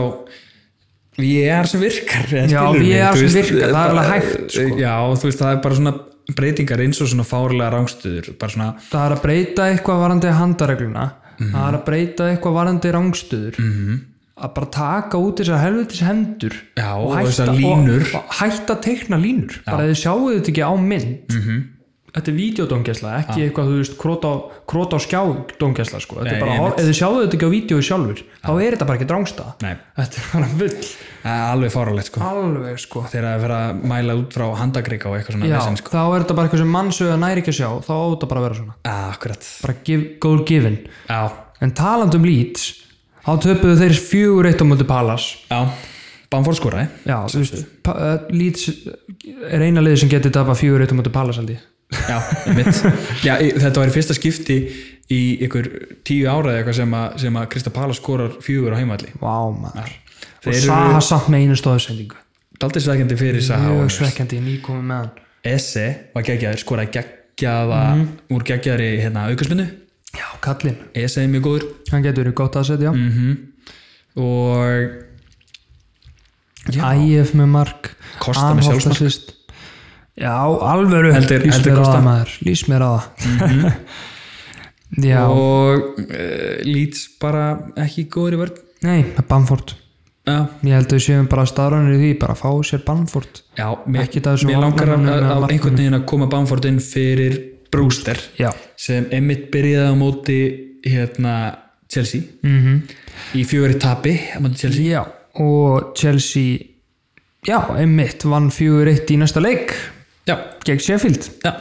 VR sem virkar eða Já, skilurðu mig, VR þú sem veist, virkar, það er bara- eh, alveg hægt, sko. Já, þú veist, það er bara svona breytingar eins og svona fárlega rángstöður bara svona, það er að breyta eitthvað varandi handaregluna Mhm. það er að breyta eitthvað varandi rángstöður -hmm. að bara taka út þessar helvitis hendur Já, og þessar línur. og, og hætta að teikna línur bara þið sjáu þetta ekki á mynd Mhm. -hmm. þetta er videodómgæsla ekki eitthvað þú veist krót á, krót á skjá dómgæsla sko. þetta Nei, er bara, hor- einmitt. ef þið sjáu þetta ekki á vídeo sjálfur þá er þetta bara ekki rángstaða Nei. þetta er bara vill það er alveg fárlegt sko alveg sko þegar það er að vera að mæla út frá handagreika og eitthvað svona Já, vesen, sko. þá er þetta bara eitthvað sem mannsögða næri ekki að sjá þá á þetta bara að vera svona Já, akkurat bara give, goal given Já, En taland um Leeds þá töpuðu þeir fjögur eitt á móti Palas já, eh? Bamford skoraði Já, þú veist, pa, uh, Leeds er eina liði sem getur tapað fjögur eitt á móti Palas held ég Já, [LAUGHS] mitt Já, í- þetta var í fyrsta skipti í ykkur tíu ára eða eitthvað sem að, sem að Krista Pala skorar fjögur á heimalli Vá maður Þeir eru- Og Saha samt með einu stóðsendingu Daldið svekkjandi fyrir Saha Mjög og- svekkjandi, ég nýkomi með hann Esse var geggjaður, skoraði geggjaða úr geggjaðri hérna, aukarsmyndu Já, kallinn, Esse er mjög góður hann getur verið gott að setja mm. og Já. IF með mark Kosta með Anholt sjálfsmark. assist. Já, alvöru Heldur- Lýs heldur mér á Kosta. það maður, lýs mér á það Já, Mhm. [LAUGHS] og uh, eh, Leeds bara ekki góður í vörn nei, með Bamford já, ég held að við séum bara staðrænir í því bara að fá sér Bamford já mér, Ekkert af þessum mér langar að, varnarmönnum að, eða að markmönnum. einhvern veginn að koma Bamford inn fyrir Brewster já, sem Emmitt byrjaði á móti hérna Chelsea mm í fjögur í tapi á móti Chelsea já og Chelsea já, einmitt vann 4-1 í næsta leik já, gegn Sheffield já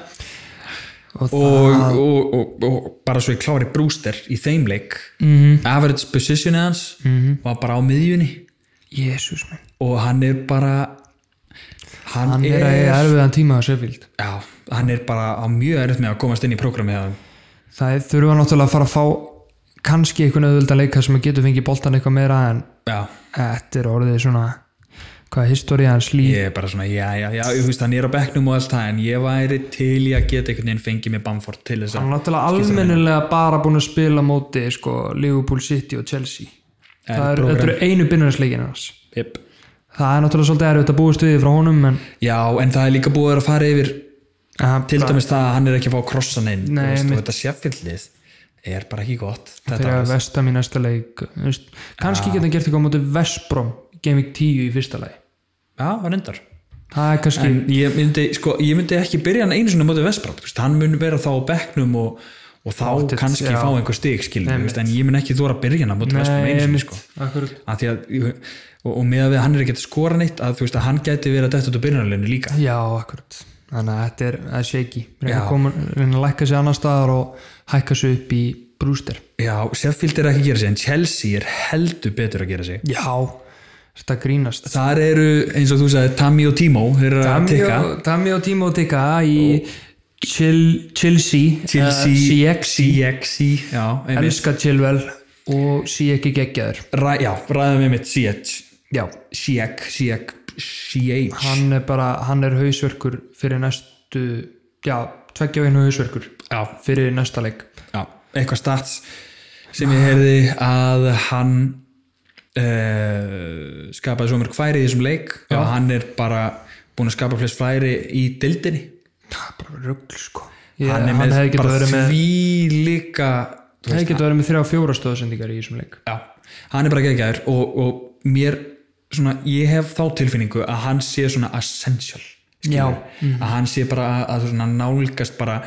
og, og og, og, og, og bara svo ég klári Brewster í þeim leik Mhm. -hmm. average position hans -hmm. var bara á miðjunni jésus minn og hann er bara hann, hann er, er að eiga erfiðan tíma á Sheffield já, hann er bara á mjög erfitt með að komast inn í prógramið hjá þeim. það þurfa náttúrulega að fara að fá kannski einhvern auðvölda leika sem getur fengið boltan eitthvað meira en já, þetta er orðið svona hvað historið hans líf ég er bara svona já, já, já, þú veist, hann er á bekknum og allt það en ég væri til í að geta einhvern veginn fengið með Bamford til þess hann að er náttúrulega almennilega bara búin að spila móti sko, Liverpool City og Chelsea það er, þetta eru einu byrjunarleikinu hans yep. það er náttúrulega svolítið erfitt að búast við því frá honum en, já, en það er líka búið að vera að fara yfir en hann- til dæmis það að hann er ekki að fá krossan inn þú Nei, veist, og einmitt. þetta séfjöldlið er bara ekki gott þeir þetta Ah. eru var að vestam í næsta leik þú veist, kannski geta hann gert eitthvað á móti Vestbrom Game Week 10 í fyrsta leik Já, hann endar það er kannski En ég myndi, sko, ég myndi ekki byrja hann einu svona mótið Vestbrók, hann mun vera þá á bekknum og, og þá Pottet, kannski já. fá einhver stig skilum, Einmitt. veist, en ég mun ekki þóra að byrja hann á mótið Vestbrók einu sinni einmitt, sko. akkurat. Af því að, og, og með að við að hann er ekki að skora neitt að þú veist að hann gæti verið að detta út á byrjunarleginu líka Já, akkurat. Þannig að þetta er, það er shaky. Reyna Já. að, koma, reyna að lækka sig annar staðar og hækka sig upp í brúster. Já, Sheffield er ekki að gera sig en Chelsea er heldur betur að gera sig Já, þetta grínast. Þar eru, eins og þú sagði, Tammy og Timo þeir eru að Tammy tikka og- Tammy og Timo Tikka í Chil, Chelsea, Chelsea, eh, CX, CXC Já, einmitt elska Chilwell og CX geggjaður. Ræ, Já, ræðum við mitt CX Já, CX, CX, CX hann er bara, hann er hausverkur fyrir næstu, já, tveggja veginn hausverkur Já, fyrir næsta leik. já, eitthvað stats sem ég heyrði að hann uh, skapaði svo mörg færi í þessum leik og hann er bara búin að skapa flest færi í dildinni Það er bara rugl, sko. Ég, hann hann er með hefði getað bara verið með því líka Það getur verið með þrjá fjóra stöðsendingar í þessum leik. já, hann er bara geggjaður og, og mér svona, ég hef þá tilfinningu að hann sé svona essential skilur. Já. að hann sé bara að, að svona nálgast bara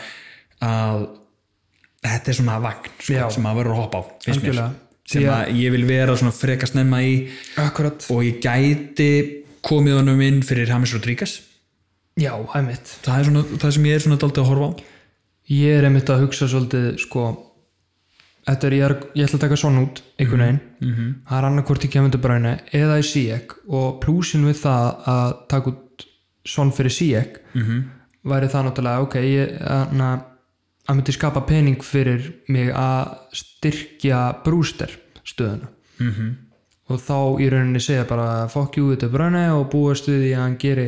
að þetta er svona vagn sko, Já. sem að verður að hoppa á finnst mér, Algjörlega. sem Já. að ég vil vera svona freka snemma í Akkurat. og ég gæti komið honum inn fyrir Hamis Rodríguez Já, einmitt. það er svona það sem ég er svona daldið að horfa á Ég er einmitt að hugsa svolítið, sko, þetta er, ég, er, ég ætla að taka svona út, einhvern veginn, það er annarkvort í kemur til bræni eða í SIEK og plúsin við það að taka út svona fyrir SIEK -hmm. væri það náttúrulega, ok, ég, þannig að að myndi skapa pening fyrir mig að styrkja brúster stöðuna. mhm. og þá í rauninni segja bara fuck you þetta bröna og búast við því að hann geri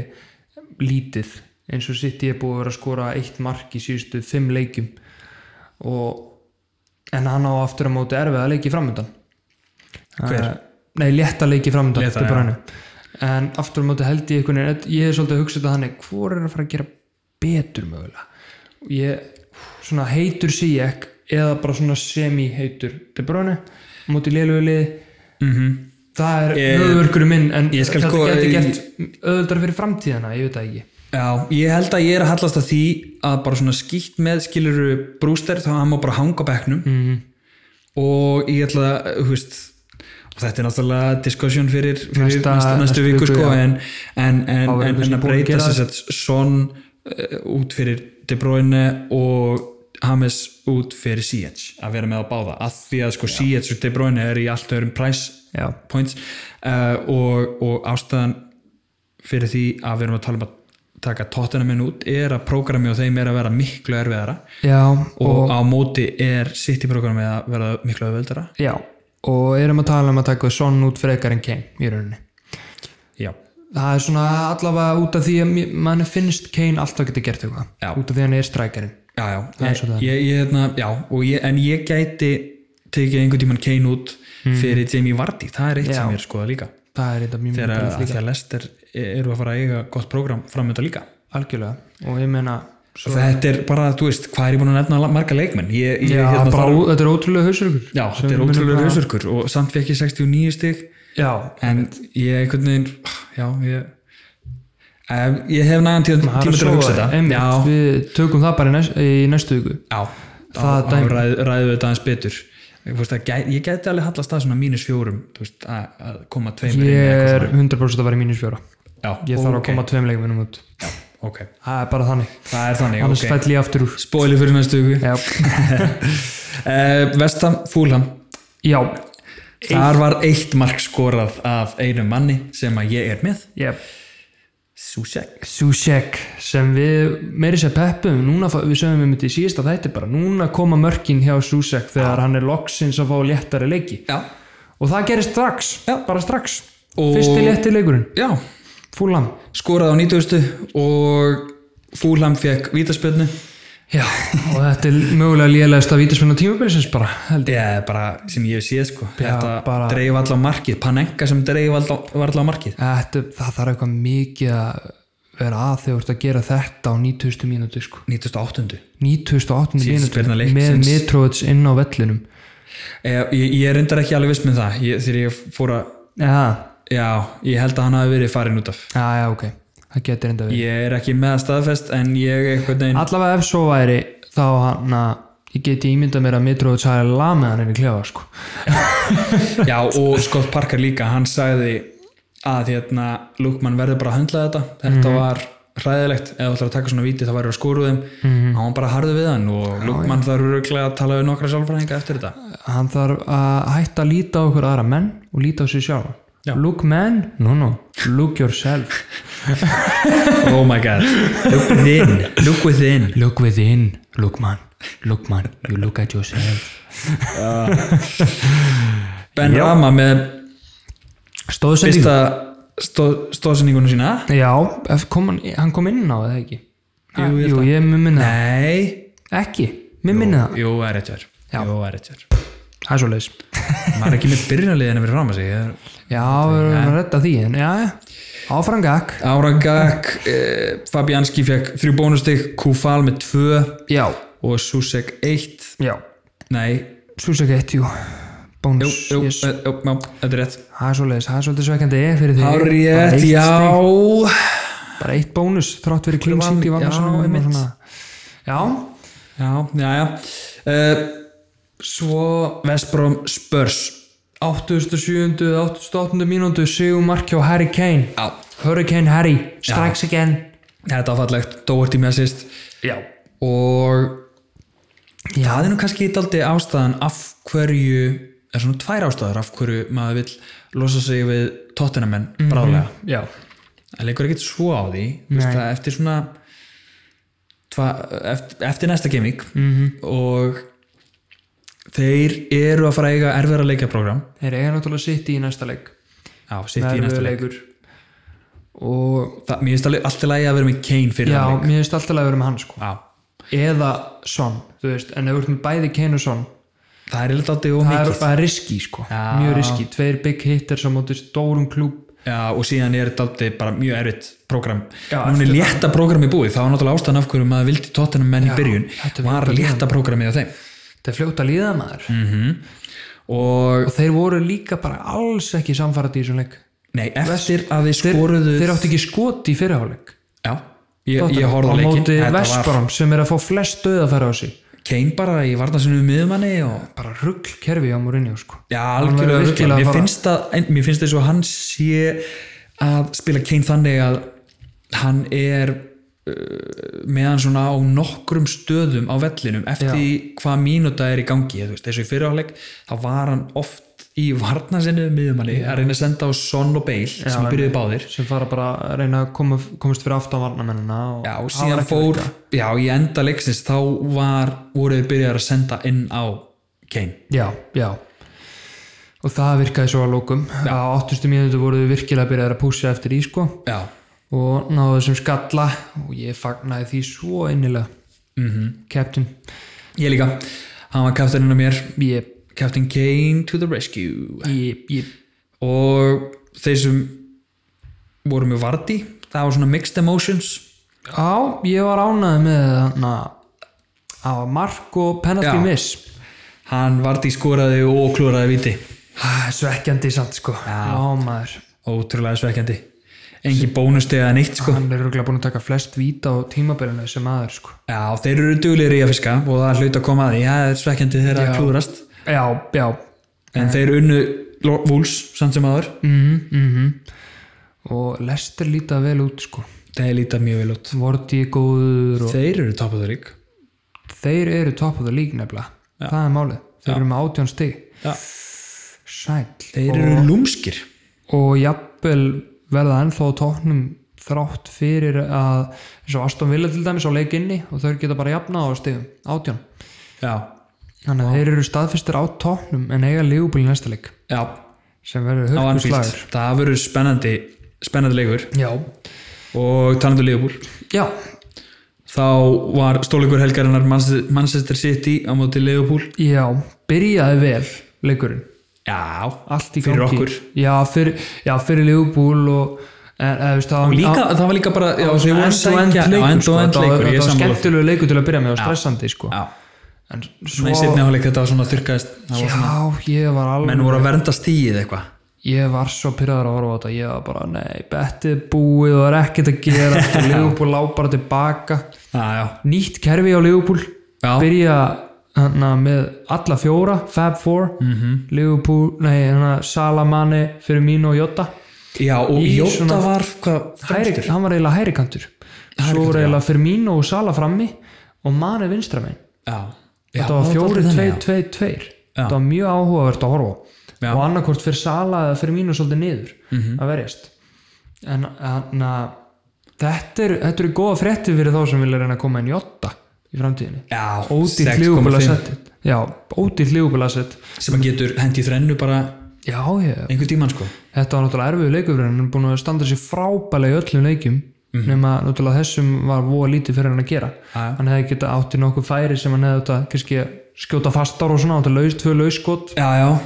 lítið eins og sitt ég er búið að vera að skora eitt mark í síðustu fimm leikjum og en hann á aftur að móti erfið að leiki framöndan Hver? Eh, nei, létta leiki framöndan Létta, De já. Bruyne. en aftur á móti held ég einhvern veginn ég er svolítið að hugsa þetta þannig hvor er að fara að gera betur mögulega Og ég, svona heitur sík eða bara svona semi-heitur De Bruyne, á móti lélugu liði Mhm. það er Ég- höfðvörkurum minn en Ég skal þetta sko- geti ég- gert auðvöldar fyrir framtíðina, ég veit það ekki Já, ég held að ég er að hallast að því að bara svona skýtt með skiluru brúster þá hann má bara hanga á bekknum Mhm. -hmm. og ég ætla að, þú veist og þetta er náttúrulega diskusjón fyrir, fyrir Næsta- næsta, næstu, næstu viku viku, sko já. en, en, en, Þá verður en, en kannski að búin að breyta gera sér sett Son uh, út fyrir De Bruyne og Hames út fyrir Siege að vera með á báða, að því að sko Siege og De Bruyne er í allt öðrum price já, points uh, og, og ástæðan fyrir því að við erum að tala um að taka tóttina minn út er að prógrami á þeim er að vera miklu erfiðara já og, og, á móti er sitt í prógrami að vera miklu öðvöldara já, og erum að tala um að taka sonn út frekar en Kane í rauninni Já, það er svona allavega út af því að mér- manni finnst Kane alltaf geta gert Já. eitthvað út af því að hann er strækjarinn já, já, Það er svolítið ég, ég, hérna, já og ég, en ég gæti tekið einhvern tímann Kane út fyrir Jamie Vardy, það er eitt sem Hmm. Já. Hmm, ég er skoða líka það er þetta mjög mjög þegar að, að, breytt að Lester eru að fara að eiga gott prógram framönda líka algjörlega og ég meina þetta er bara, þú veist, hvað er ég búin að nefna marga leikmenn ég, ég, Já, hérna, bara, þarf- ó- þetta er ótrúlega hausverkur já þetta er ótrúlega hausverkur og samt fekk ég 69 stig Já, en ég einhvern veginn já, ég ef, ég hef nægan tíma, það tíma er til að svo hugsa þetta einmitt, já, við tökum það bara í næstu, í næstu viku já, Það þá dæmi. ræð, ræðum við þetta aðeins betur ég, veist, að, gæ- ég gæti alveg hallast að svona mínus fjórum þú veist, að, að koma tveimur inn Ég eða eitthvað er 100% að vera í mínus fjóra svona. já, Ég þarf að ok, koma tveim leikum minnum út ok, Það er bara þannig, það er þannig annars okay. fell ég aftur úr spóli fyrir næstu viku Já, uh, Vestam Fúlham já, þar var eitt mark skorað af einum manni sem að ég er með yep. Susek Susek sem við meiri sér peppum, núna fá- við sögum við myndi í síðasta þætti bara, núna koma mörkin hjá Susek þegar hann er loksins að fá léttari leiki já, og það gerist strax, Já. bara strax Og- fyrsti létti leikurinn, já, fúlan skoraði á 90 og Fúlham fekk vítaspjörnu Já, og þetta er mögulega lélegasta vítaspinna tímabilsins bara, held ég Já, bara sem ég hef séð sko Já, þetta bara- dreif alltaf markið, Panenka sem dreif alltaf á markið Þetta, það þarf eitthvað mikið að vera að þegar þú ert að gera þetta á 90. mínúti sko. 98. 98. Síðasta spyrna mínúti með leiksins. Mitrovic inn á vellinum Eh, Ég, ég er reyndar ekki alveg viss með það ég, þegar ég fór að, Já, já, ég held að hann hafi verið farin út af já, já, ok það getur enda við Ég er ekki með að staðfest en ég einhvern veginn Allavega ef svo væri þá hann að ég geti ímyndað mér að Mitrovic hafi lamið hann inn í klefa sko. Já, og Scott Parker líka, hann sagði að hérna, Lukman verður bara að höndla þetta þetta var hræðilegt, ef þú ætlar að taka svona víti þá verður að skóru þeim mm hann var bara harðu við hann og Lukman þarf öruglega að tala við nokkra sjálfræðinga eftir þetta [LAUGHS] Hann þarf að hætta að líta á okkur aðra menn og líta á sig sjálf Já. Look man, no no, look yourself Oh my god, look within look within Look within, look man, look man, you look at yourself Ben Rama með Stóðsending fyrsta stó, stóðsendingunum sína Já, ef kom hann, hann kom inn á það ekki Jú, ég held Jú, ég mér minna það Nei, Ekki, mér minna það jú, er eitthver Já. Jú, er eitthver Það er svo leis Maður er ekki með byrjunarliðinu fyrir fram að sig Ég er- Já, við erum að redda því en já, áfram gakk Ára Gak, eh, Fabianski fekk þrjú bónustig, Kufal með tvö Já, og Susek eitt já, nei, súsek eitt, jú jú, Bónus, jú, yes yes. jú, jú, þetta er rétt Það er svo leis, það er svolítið svekkandi fyrir því Það er Bara rétt, eitt stig, já Bara eitt bónus, þrátt verið clean sheet í Já, vangarsanum einmitt. Já, Já, já, já uh, Svo Vestbrom Spurs 87. 88. mínútu Sigur Markjó Harry Kane Já, Hurricane Harry, strikes again þetta áfallegt, Dóherty með assist Já og það er nú kannski daldi ástæðan af hverju er svona tvær ástæður af hverju maður vill losa sig við tóttinamenn bráðlega Já, það leikur ekkert svo á því þú veist, að eftir svona tva, eftir, eftir næsta gaming -hmm. Mhm. og þeir eru að fara að eiga erfiðara leikjaprogram Þeir eiga náttúrulega sitt í næsta leik já, sitt í næsta leik leikur Og Þa, mér finnst alveg alltaf lægi að vera með Kane fyrir já, þann leik mér finnst alltaf að vera með hann sko já, Eða Son, þú veist En ef þú ert með bæði Kane og Son það er eitthvað aldrei og Það er, mikið það er riski sko, Já. mjög riski Tveir big hitter sem móti stórum klúb já, og síðan er þetta aldrei bara mjög erfitt program, Já, núna er létta programmi búið, það var náttúrulega ástæðan af hverju maður vildi tóttinamenn í byrjun, þetta er var létta programmi á þeim Þetta er fljóta líðamaður mm. og Og þeir voru líka bara alls ekki samfarað í þessum leik nei, eftir að þið Þeir, skoruðu þeir áttu ekki skot í fyrirháleik Já, ég, ég horfði á Á leikin móti Þetta var Vestbrom sem er að fá flest döð að fara á sig Kane bara í varnarsinu miðumanni og Bara rugg kerfi á Mourinho sko Já, verður algjörlega virkilega virkilega að Mér fara. finnst, að, en- mér finnst þess að hann sé að spila Kane þannig að hann er uh, með hann svona á nokkrum stöðum á vellinum eftir því hvað mínúta er í gangi þú veist, eins og í fyrirháleik þá var hann oft í varnarsinu miðumanni að reyna að senda á Son og Bale sem byrjuði báðir sem fara bara að reyna að koma, komast fyrir aftan varnamennina og Já, það og var síðan ekki fór líka. Já, í enda leiksins þá var voru þau byrjar að senda inn á Kane Já, já og það virkaði svo að lókum á 80. mínútu voru við virkilega að byrja að pússa eftir í sko Já, og náðu þessum skalla og ég fagnaði því svo innilega mm -hmm. Captain ég líka Hann var kaftaninn á mér ég, Captain Kane to the rescue ég, ég, Og þeir sem voru með Vardy Það var svona mixed emotions Já, ég var ánæði með þarna á mark og penalty Já. miss Hann varði skoraði og klúraði viti Ah, Svekkjandi samt sko Já, maður Ótrúlega svekkjandi Engin bónustega en eitt sko Hann er röglega búin að taka flest víta á tímabilinu sem maður sko Já, þeir eru duglegir í að fiska og það er hlut að koma að því Já, það er svekkjandi þegar Já. að klúrast Já, já En þeir unnu Lo- Wolves samt sem aður mm, mm Og Lester líta vel út sko Þeir líta mjög vel út Vorti góður og Þeir eru top of the league Þeir eru top of the league nefnilega Það er málið, þeir eru með átjón stig Já. Sæll Þeir eru lúmskir og jafnvel verða ennþá á tóknum þrátt fyrir að eins og Aston Villa til dæmis á leik inni og þau geta bara jafnað á stigum, átján Já, þannig að þeir eru staðfistir á tóknum en eiga lífbúli næsta leik já, sem verður á Anfield hörkuslagur Það verður spennandi, spennandi leikur já, og talandu Leopold já, þá var stóleikur helgarinnar Manchester- Manchester City á móti Leopold já byrjaði vel leikurinn Já, allt í Fyrir gangi okkur. já, fyrir, já, fyrir lífbúl og en, eða, veist, það, Og líka, það var líka bara já, þeir voru að end-to-end sækja- já, leikur, end sko, og end þetta var- leikur ég er þetta var sammála. skemmtilegu leikur til að byrja með og stressandi sko. Já, en svona í svo setni áleik þetta var svona þurrkaðist það var svona, Já, ég var alveg menn voru að vernda stíið eitthvað ég var svo pyrraður að horfa á þetta ég var bara, nei, bettið er búið og það er ekkert að gera [LAUGHS] og Leopold lá bara tilbaka Já, já, nýtt kerfi á Leopold Já. byrja hana, með alla fjóra Fab Four, -hmm. Mhm. Leopold nei, hana, Salamani, Firmino og Jota já og Í Jóta svona- var hvað, Hæri, fremstur? hann var eiginlega hærikantur svo var eiginlega Firmino og Sala frammi og Mani vinstramenn Já, já, þetta var fjóri, dálítið tvei, þannig, tvei, tveir þetta var mjög áhugavert að horfa á. Já. Mhm. og annarkvort fyrir Sala eða fyrir mínu svolítið niður að verjast en þannig að þetta eru þetta eru góða fréttir fyrir þá sem vilja reyna að koma inn í 8 í framtíðinni Já, ódýrt 6,5 lífubalasettið já, ódýrt lífubalasettið sem að getur hendi í þrennu bara já, ég, einhver tíman sko þetta var náttúrulega erfiðu leikur en hann er búin að standa sér frábælega í öllum leikjum nema náttúrulega þessum var voða lítið fyrir hann að gera Mhm. Já. hann hefði getað átti nokkuð færi sem hann hefði þetta kannski skjóta fastar og svona átti laus, tvö lauskot Já, já,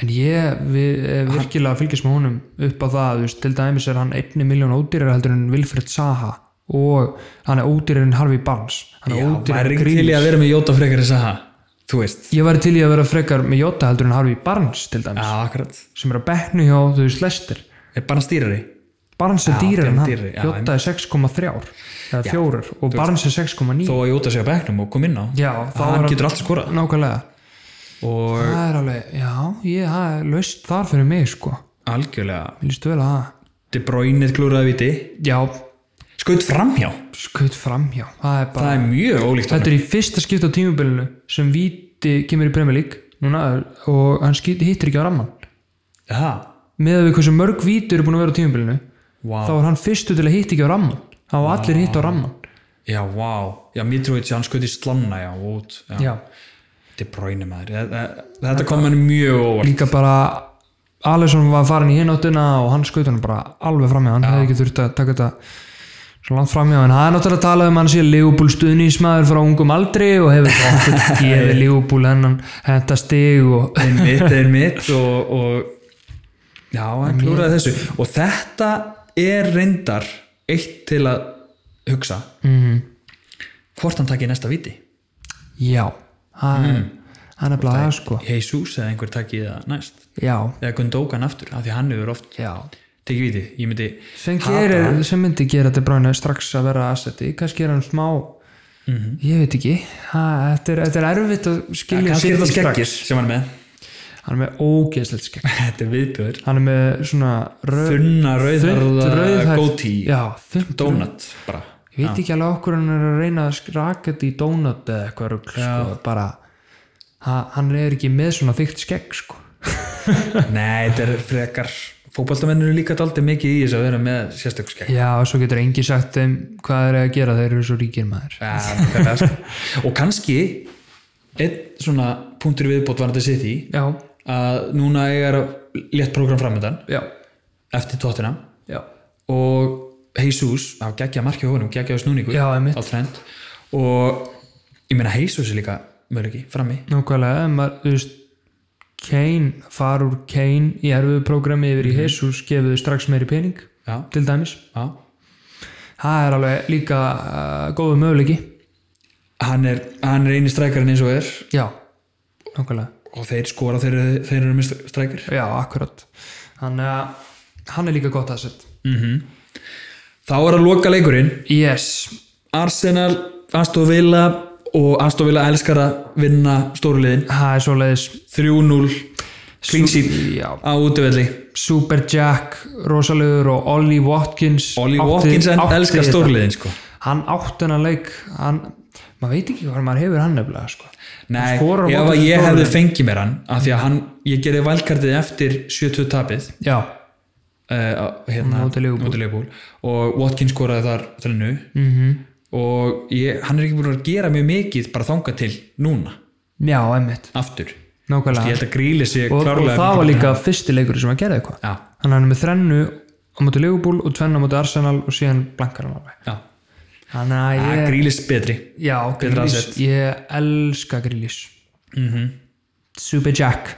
En ég við, eh, virkilega fylgist með honum upp á það, þú veist, til dæmis er hann einni miljón ódýrar heldur en Vilfred Saha og hann er ódýrar en Harvey Barnes hann er já ódýrar væri til en í Grílis að vera með Jóta frekar þess að þú veist Ég væri til í að vera frekar með Jota heldur en Harvey Barnes til dæmis, Já, akkurat, sem er að bekknu hjá þú veist Lester. er bara stýrari Barnes er Já, dýrar hann er en hann, dýrari, já, Jota er 6,3 eða 4 og Barnes er 6,9 þó að Jóta sé að bekknum og kom inn á Já, þá er hann hann- getur allt skorað nákvæmlega. og Það er alveg, já, ég, það er löst þar fyrir mig sko, algjörlega mér líst vel að það. De Bruyne klúraði viti Já, skutt framhjá, skutt framhjá, það er bara... það er mjög ólíkt honum. Þetta er í fyrsta skipta á tímubilinu sem Víti kemur í Premier League núna, og hann skýt, hittir ekki á ramman Já, með að við hversu mörg Víti eru búin að vera á tímubilinu vá þá er hann fyrstu til að hitta ekki á ramman hann var allir hitt á ramman já, vá, já, Mitrovic hann skutt í slanna, já, út já. Já. De Bruyne maður, Þe- þe- þetta kom hann mjög óvart líka bara Alisson var farin í hináttina og hann skutt hann bara alveg framhjá hann hefði ekki þurft að taka þetta svo langt framhjá en það er náttúrulega að tala um að hann sé Leopold stuðnismæður frá ungum aldri og hefur [LAUGHS] bara gefið Leopold hennan henta stig og einmitt, einmitt og, og já, hann klúraði þessu og þetta er reyndar eitt til að hugsa Mhm. hvort hann taki næsta viti já hann mm. er bara það sko Jesus eða einhver taki það næst Já, eða Gundókan aftur, af því hann hefur oft já tekið viti, ég myndi sem, gerir, sem myndi gera De Bruyne strax að vera asseti, kannski er hann smá ég veit ekki ha, þetta, er, þetta er erfitt að skilja Mhm. kannski er City það strax. skeggir sem hann er með [LAUGHS] hann er með ógeðslegt skegg þetta er viðbjör, hann er með svona röð, þunna rauðarða rauðhærð- góti, já, þunn donut bara, ég veit ekki alveg okkur hann er að reyna að sk- raka þetta í donut eða eitthvað rugl sko, bara, ha, hann er ekki með svona þykkt skegg sko. nei þetta er frekar fótballtamenn eru líka daldi mikið í þess að vera með sérstök skegg já, og svo getur engi sagt þeim hvað er að gera, þeir eru svo ríkir maður Ja, nákvæmlega, sko. og kannski einn svona punktur í viðbót var þetta sitt í já, að núna ég er létt program framöndan já, eftir tóttina já og Jesus á geggja marki á honum, geggja á snúningu Já, einmitt. á trend og ég meina Jesus er líka möguleiki frammi Nákvæmlega, en maður, þú veist Kane, far úr Kane Mhm. í erfiðu prógrami yfir í Jesus gefið þau strax meiri pening já, til dæmis, já, það er alveg líka uh, góðu möguleiki hann er, hann er eini strækarinn eins og er já, nákvæmlega og þeir skora þeir, þeir eru með strækir já, akkurat hann, uh, hann er líka gott að setja þá er að loka leikurinn yes, Arsenal, Aston Villa og Aston Villa elskar að vinna stóruliðin það er svoleiðis 3-0 clean sheet já, á útivelli Super Jack, Rosalegur og Ollie Watkins Ollie átti- Watkins en átti elskar þetta. stórliðin sko. hann átt hennar leik hann, maður veit ekki hvað maður hefur hann nefnilega sko. Nei, Hann skorar á ef móti að ég stóru hefði liðin. fengið mér hann af því að hann, ég gerði valkartið eftir 70 tapið já, uh, hérna, Móti Liverpool. Leopold og Watkins skoraði þar þrennu -hmm. Mhm. og ég, hann er ekki búin að gera mjög mikið bara þanga til núna, já, emmitt, aftur ég nákvæmlega held að gríli sig og, og klárlega miklu það var betur. líka fyrsti leikur sem hann gerði eitthvað Já, hann er með þrennu á móti Leopold og tvenn á móti Arsenal og síðan blankar hann alveg já, þannig að yeah. ég, grílis betri já, grílis asset. ég elska grílis Super Jack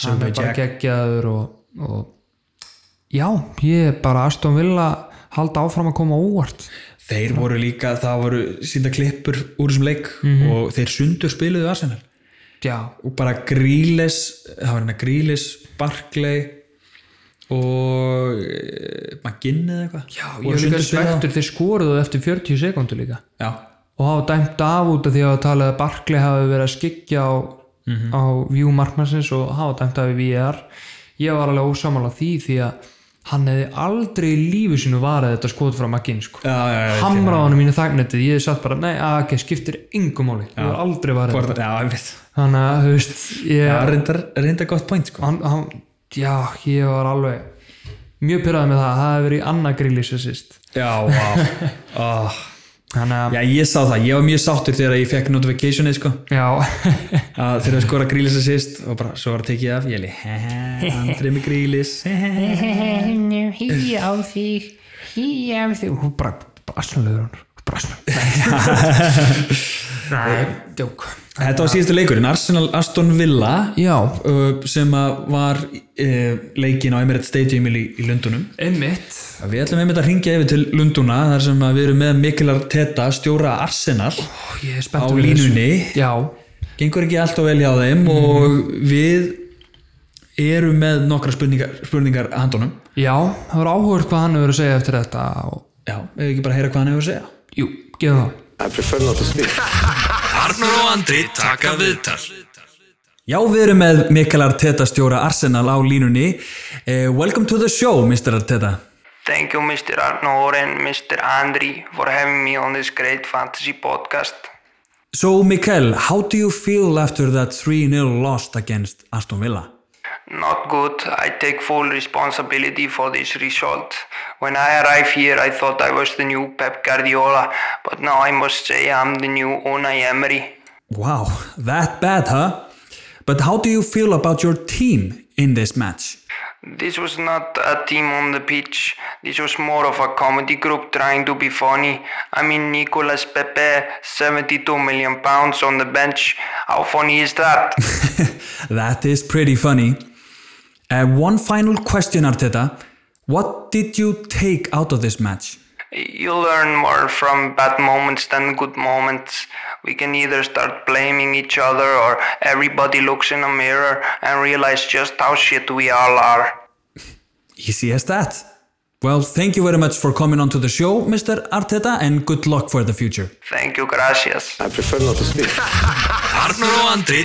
hann Super er bara Jack. geggjaður og, og já, ég er bara Aston Villa halda áfram að koma óvart þeir voru líka, það voru sínda klippur úr þessum leik Mhm. og þeir sundur spiluðu Arsenal já, og bara grílis það var hérna grílis, Barclay og eh, McGinn eða eitthvað já Voru ég er líka sundurspilaða. svektur þeir skoruðu eftir 40 sekundu líka já, og hafa dæmt af út af því að talað að Barkley hafi verið að skikja á, á view markmannsins og hafa dæmt af í VR ég var alveg ósamála því því að hann hefði aldrei í lífi sinu varðið þetta skot frá Maginn sko. já, já, já, hamraðanum mínu þagnetið, ég hef satt bara nei, að ok, skiptir engum máli ég var aldrei varðið Hvort- já, ég veit þannig að, þú veist, ég Já, reyndar, reyndar gott point sko. hann, hann, já, ég var alveg mjög pyrraðið með það, það hefði verið í annað grillis sem sýst Já, vá [LAUGHS] oh. þannig að, Já, ég sá það, ég var mjög sáttur þegar ég fekk notificationið sko já, að þegar að skora grílis að sýst og bara svo var að tekið af, ég er líka hehe, andrið með grílis [LAUGHS] hehe. Hí á þig, hí á þig. hún bara brasnulegur hann [LAUGHS] brasnulegur nei, djók Þetta var síðustu leikurinn, Arsenal Aston Villa já, uh, sem að var uh, leikin á Emirates Stadium í, í Lundunum einmitt Við ætlum einmitt að ringja yfir til Lunduna þar sem að við erum með Mikilar Teta stjóra Arsenal Ó, ég er á spennt fyrir þessu. línunni já, gengur ekki alltaf vel hjá þeim og við erum með nokkra spurningar, spurningar að handunum já, það var áhugað hvað hann hefur að segja eftir þetta og, já, ef við ekki bara heyra hvað hann hefur að segja jú, gefum það I prefer not to speak. Já, við erum með Mikael Arteta stjóra Arsenal á línunni eh, Welcome to the show, Mr. Arteta Thank you, Mr. Arnor and Mr. Andri, for having me on this great fantasy podcast. So, Mikael, how do you feel after that 3-0 loss against Aston Villa? Not good. I take full responsibility for this result. When I arrived here, I thought I was the new Pep Guardiola, but now I must say I'm the new Unai Emery. Wow, that bad, huh? But how do you feel about your team in this match? [LAUGHS] This was not a team on the pitch. This was more of a comedy group trying to be funny. I mean, Nicolas Pepe, 72 million pounds on the bench. How funny is that? That is pretty funny. Uh, one final question, Arteta. What did you take out of this match? You learn more from bad moments than good moments. We can either start blaming each other or everybody looks in a mirror and realize just how shit we all are. Easy as that. Well, thank you very much for coming onto the show, Mr. Arteta, and good luck for the future. Thank you, gracias. I prefer not to speak.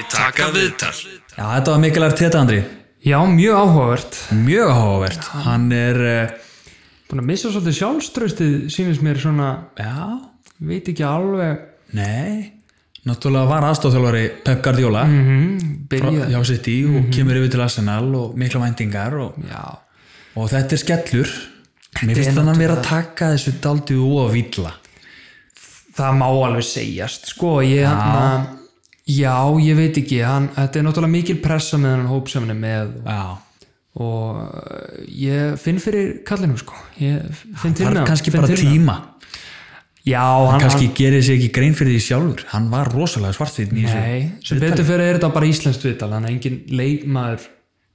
Já, þetta var mikil Arteta, Andri. já, mjög áhugavert Mjög áhugavert. Hann er, uh, búin að missa svolítið sjálfströstið sínist mér svona, já, veit ekki alveg nei, náttúrulega var aðstofþjálfari Pep Guardiola mm byrja, hjá sitt í og kemur yfir til Arsenal og mikla væntingar og, Mhm. já, og þetta er skellur. Mér finnst hann að vera að taka þessu daldið og að vila. það má alveg segjast sko, ég hann já, ég veit ekki, hann, þetta er náttúrulega mikil pressa með hann hóp sem hann er með Já, og uh, ég finn fyrir kallinu sko, ég finn til það er með kannski finn bara til með tíma hann. já, hann, kannski gerir sér ekki grein fyrir því sjálfur hann var rosalega svartvítn í hann þessu nei, sem betur fyrir er þetta bara íslenskt viðtal þannig að engin leikmaður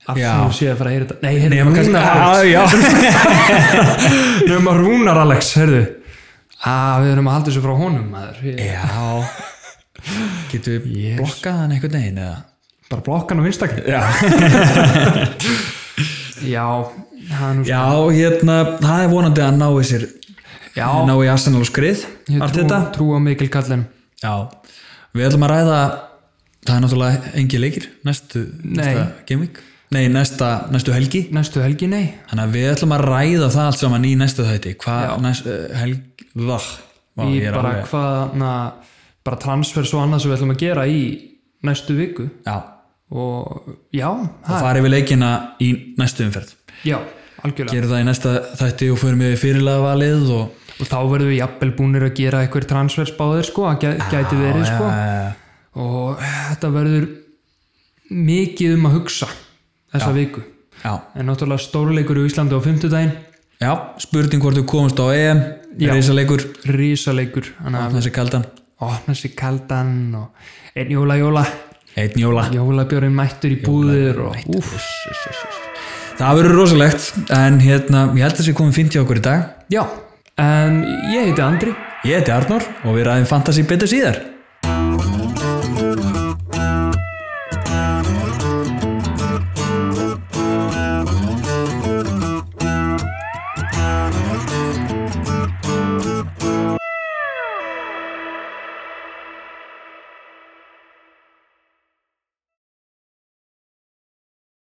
af Já. því sé að fara að heyra þetta hérna, nei, heyrðu, Nema [LAUGHS] Rúnar kannski- Alex nema Rúnar Alex, heyrðu að Ah, við erum að halda þessu frá honum maður Ég- Já [LAUGHS] Getum við Yes. blokkað hann einhvern veginn eða? bara blokkan á vinstakni Já. já, það er nú Já, hérna, það er vonandi að hann nái sér Já. Ná í Arsenal og skrið ég Allt trú, þetta trú á mikil kallin Já, við ætlum að ræða Það er náttúrulega engi leikir Næstu, Nei. næsta gaming Nei, næsta, næstu helgi næstu helgi, nei Þannig að við ætlum að ræða það allt saman í næsta þætti Hvað næst, uh, helg Vá, vá í ég er bara alveg hvað na, bara transfer svo annað sem við ætlum að gera í næstu viku Já, og já, og það, farið við leikina í næstu umferð já algjörlega Gerum það í næsta þætti og förum við fyrirlega valið og og þá verðum við jafnvel búnir að gera einhver transfer spáðir sko, að gæ- gæti verið sko já, og þetta verður mikið um að hugsa þessa viku já. en náttúrulega stórleikur í Íslandi á fimmtudaginn já, spurning hvort þú komast á EM Já. reysalegur, rísaleikur, þannig að þessi kaldan opna sér kaldan og einn jóla jóla einn jóla jólabjörn mættur í búðir og úf, það verður rosalegt en hérna, ég held að þessi komið fint hjá okkur í dag já, en ég heiti Andri ég heiti Arnór og við ræðum Fantasí betur síðar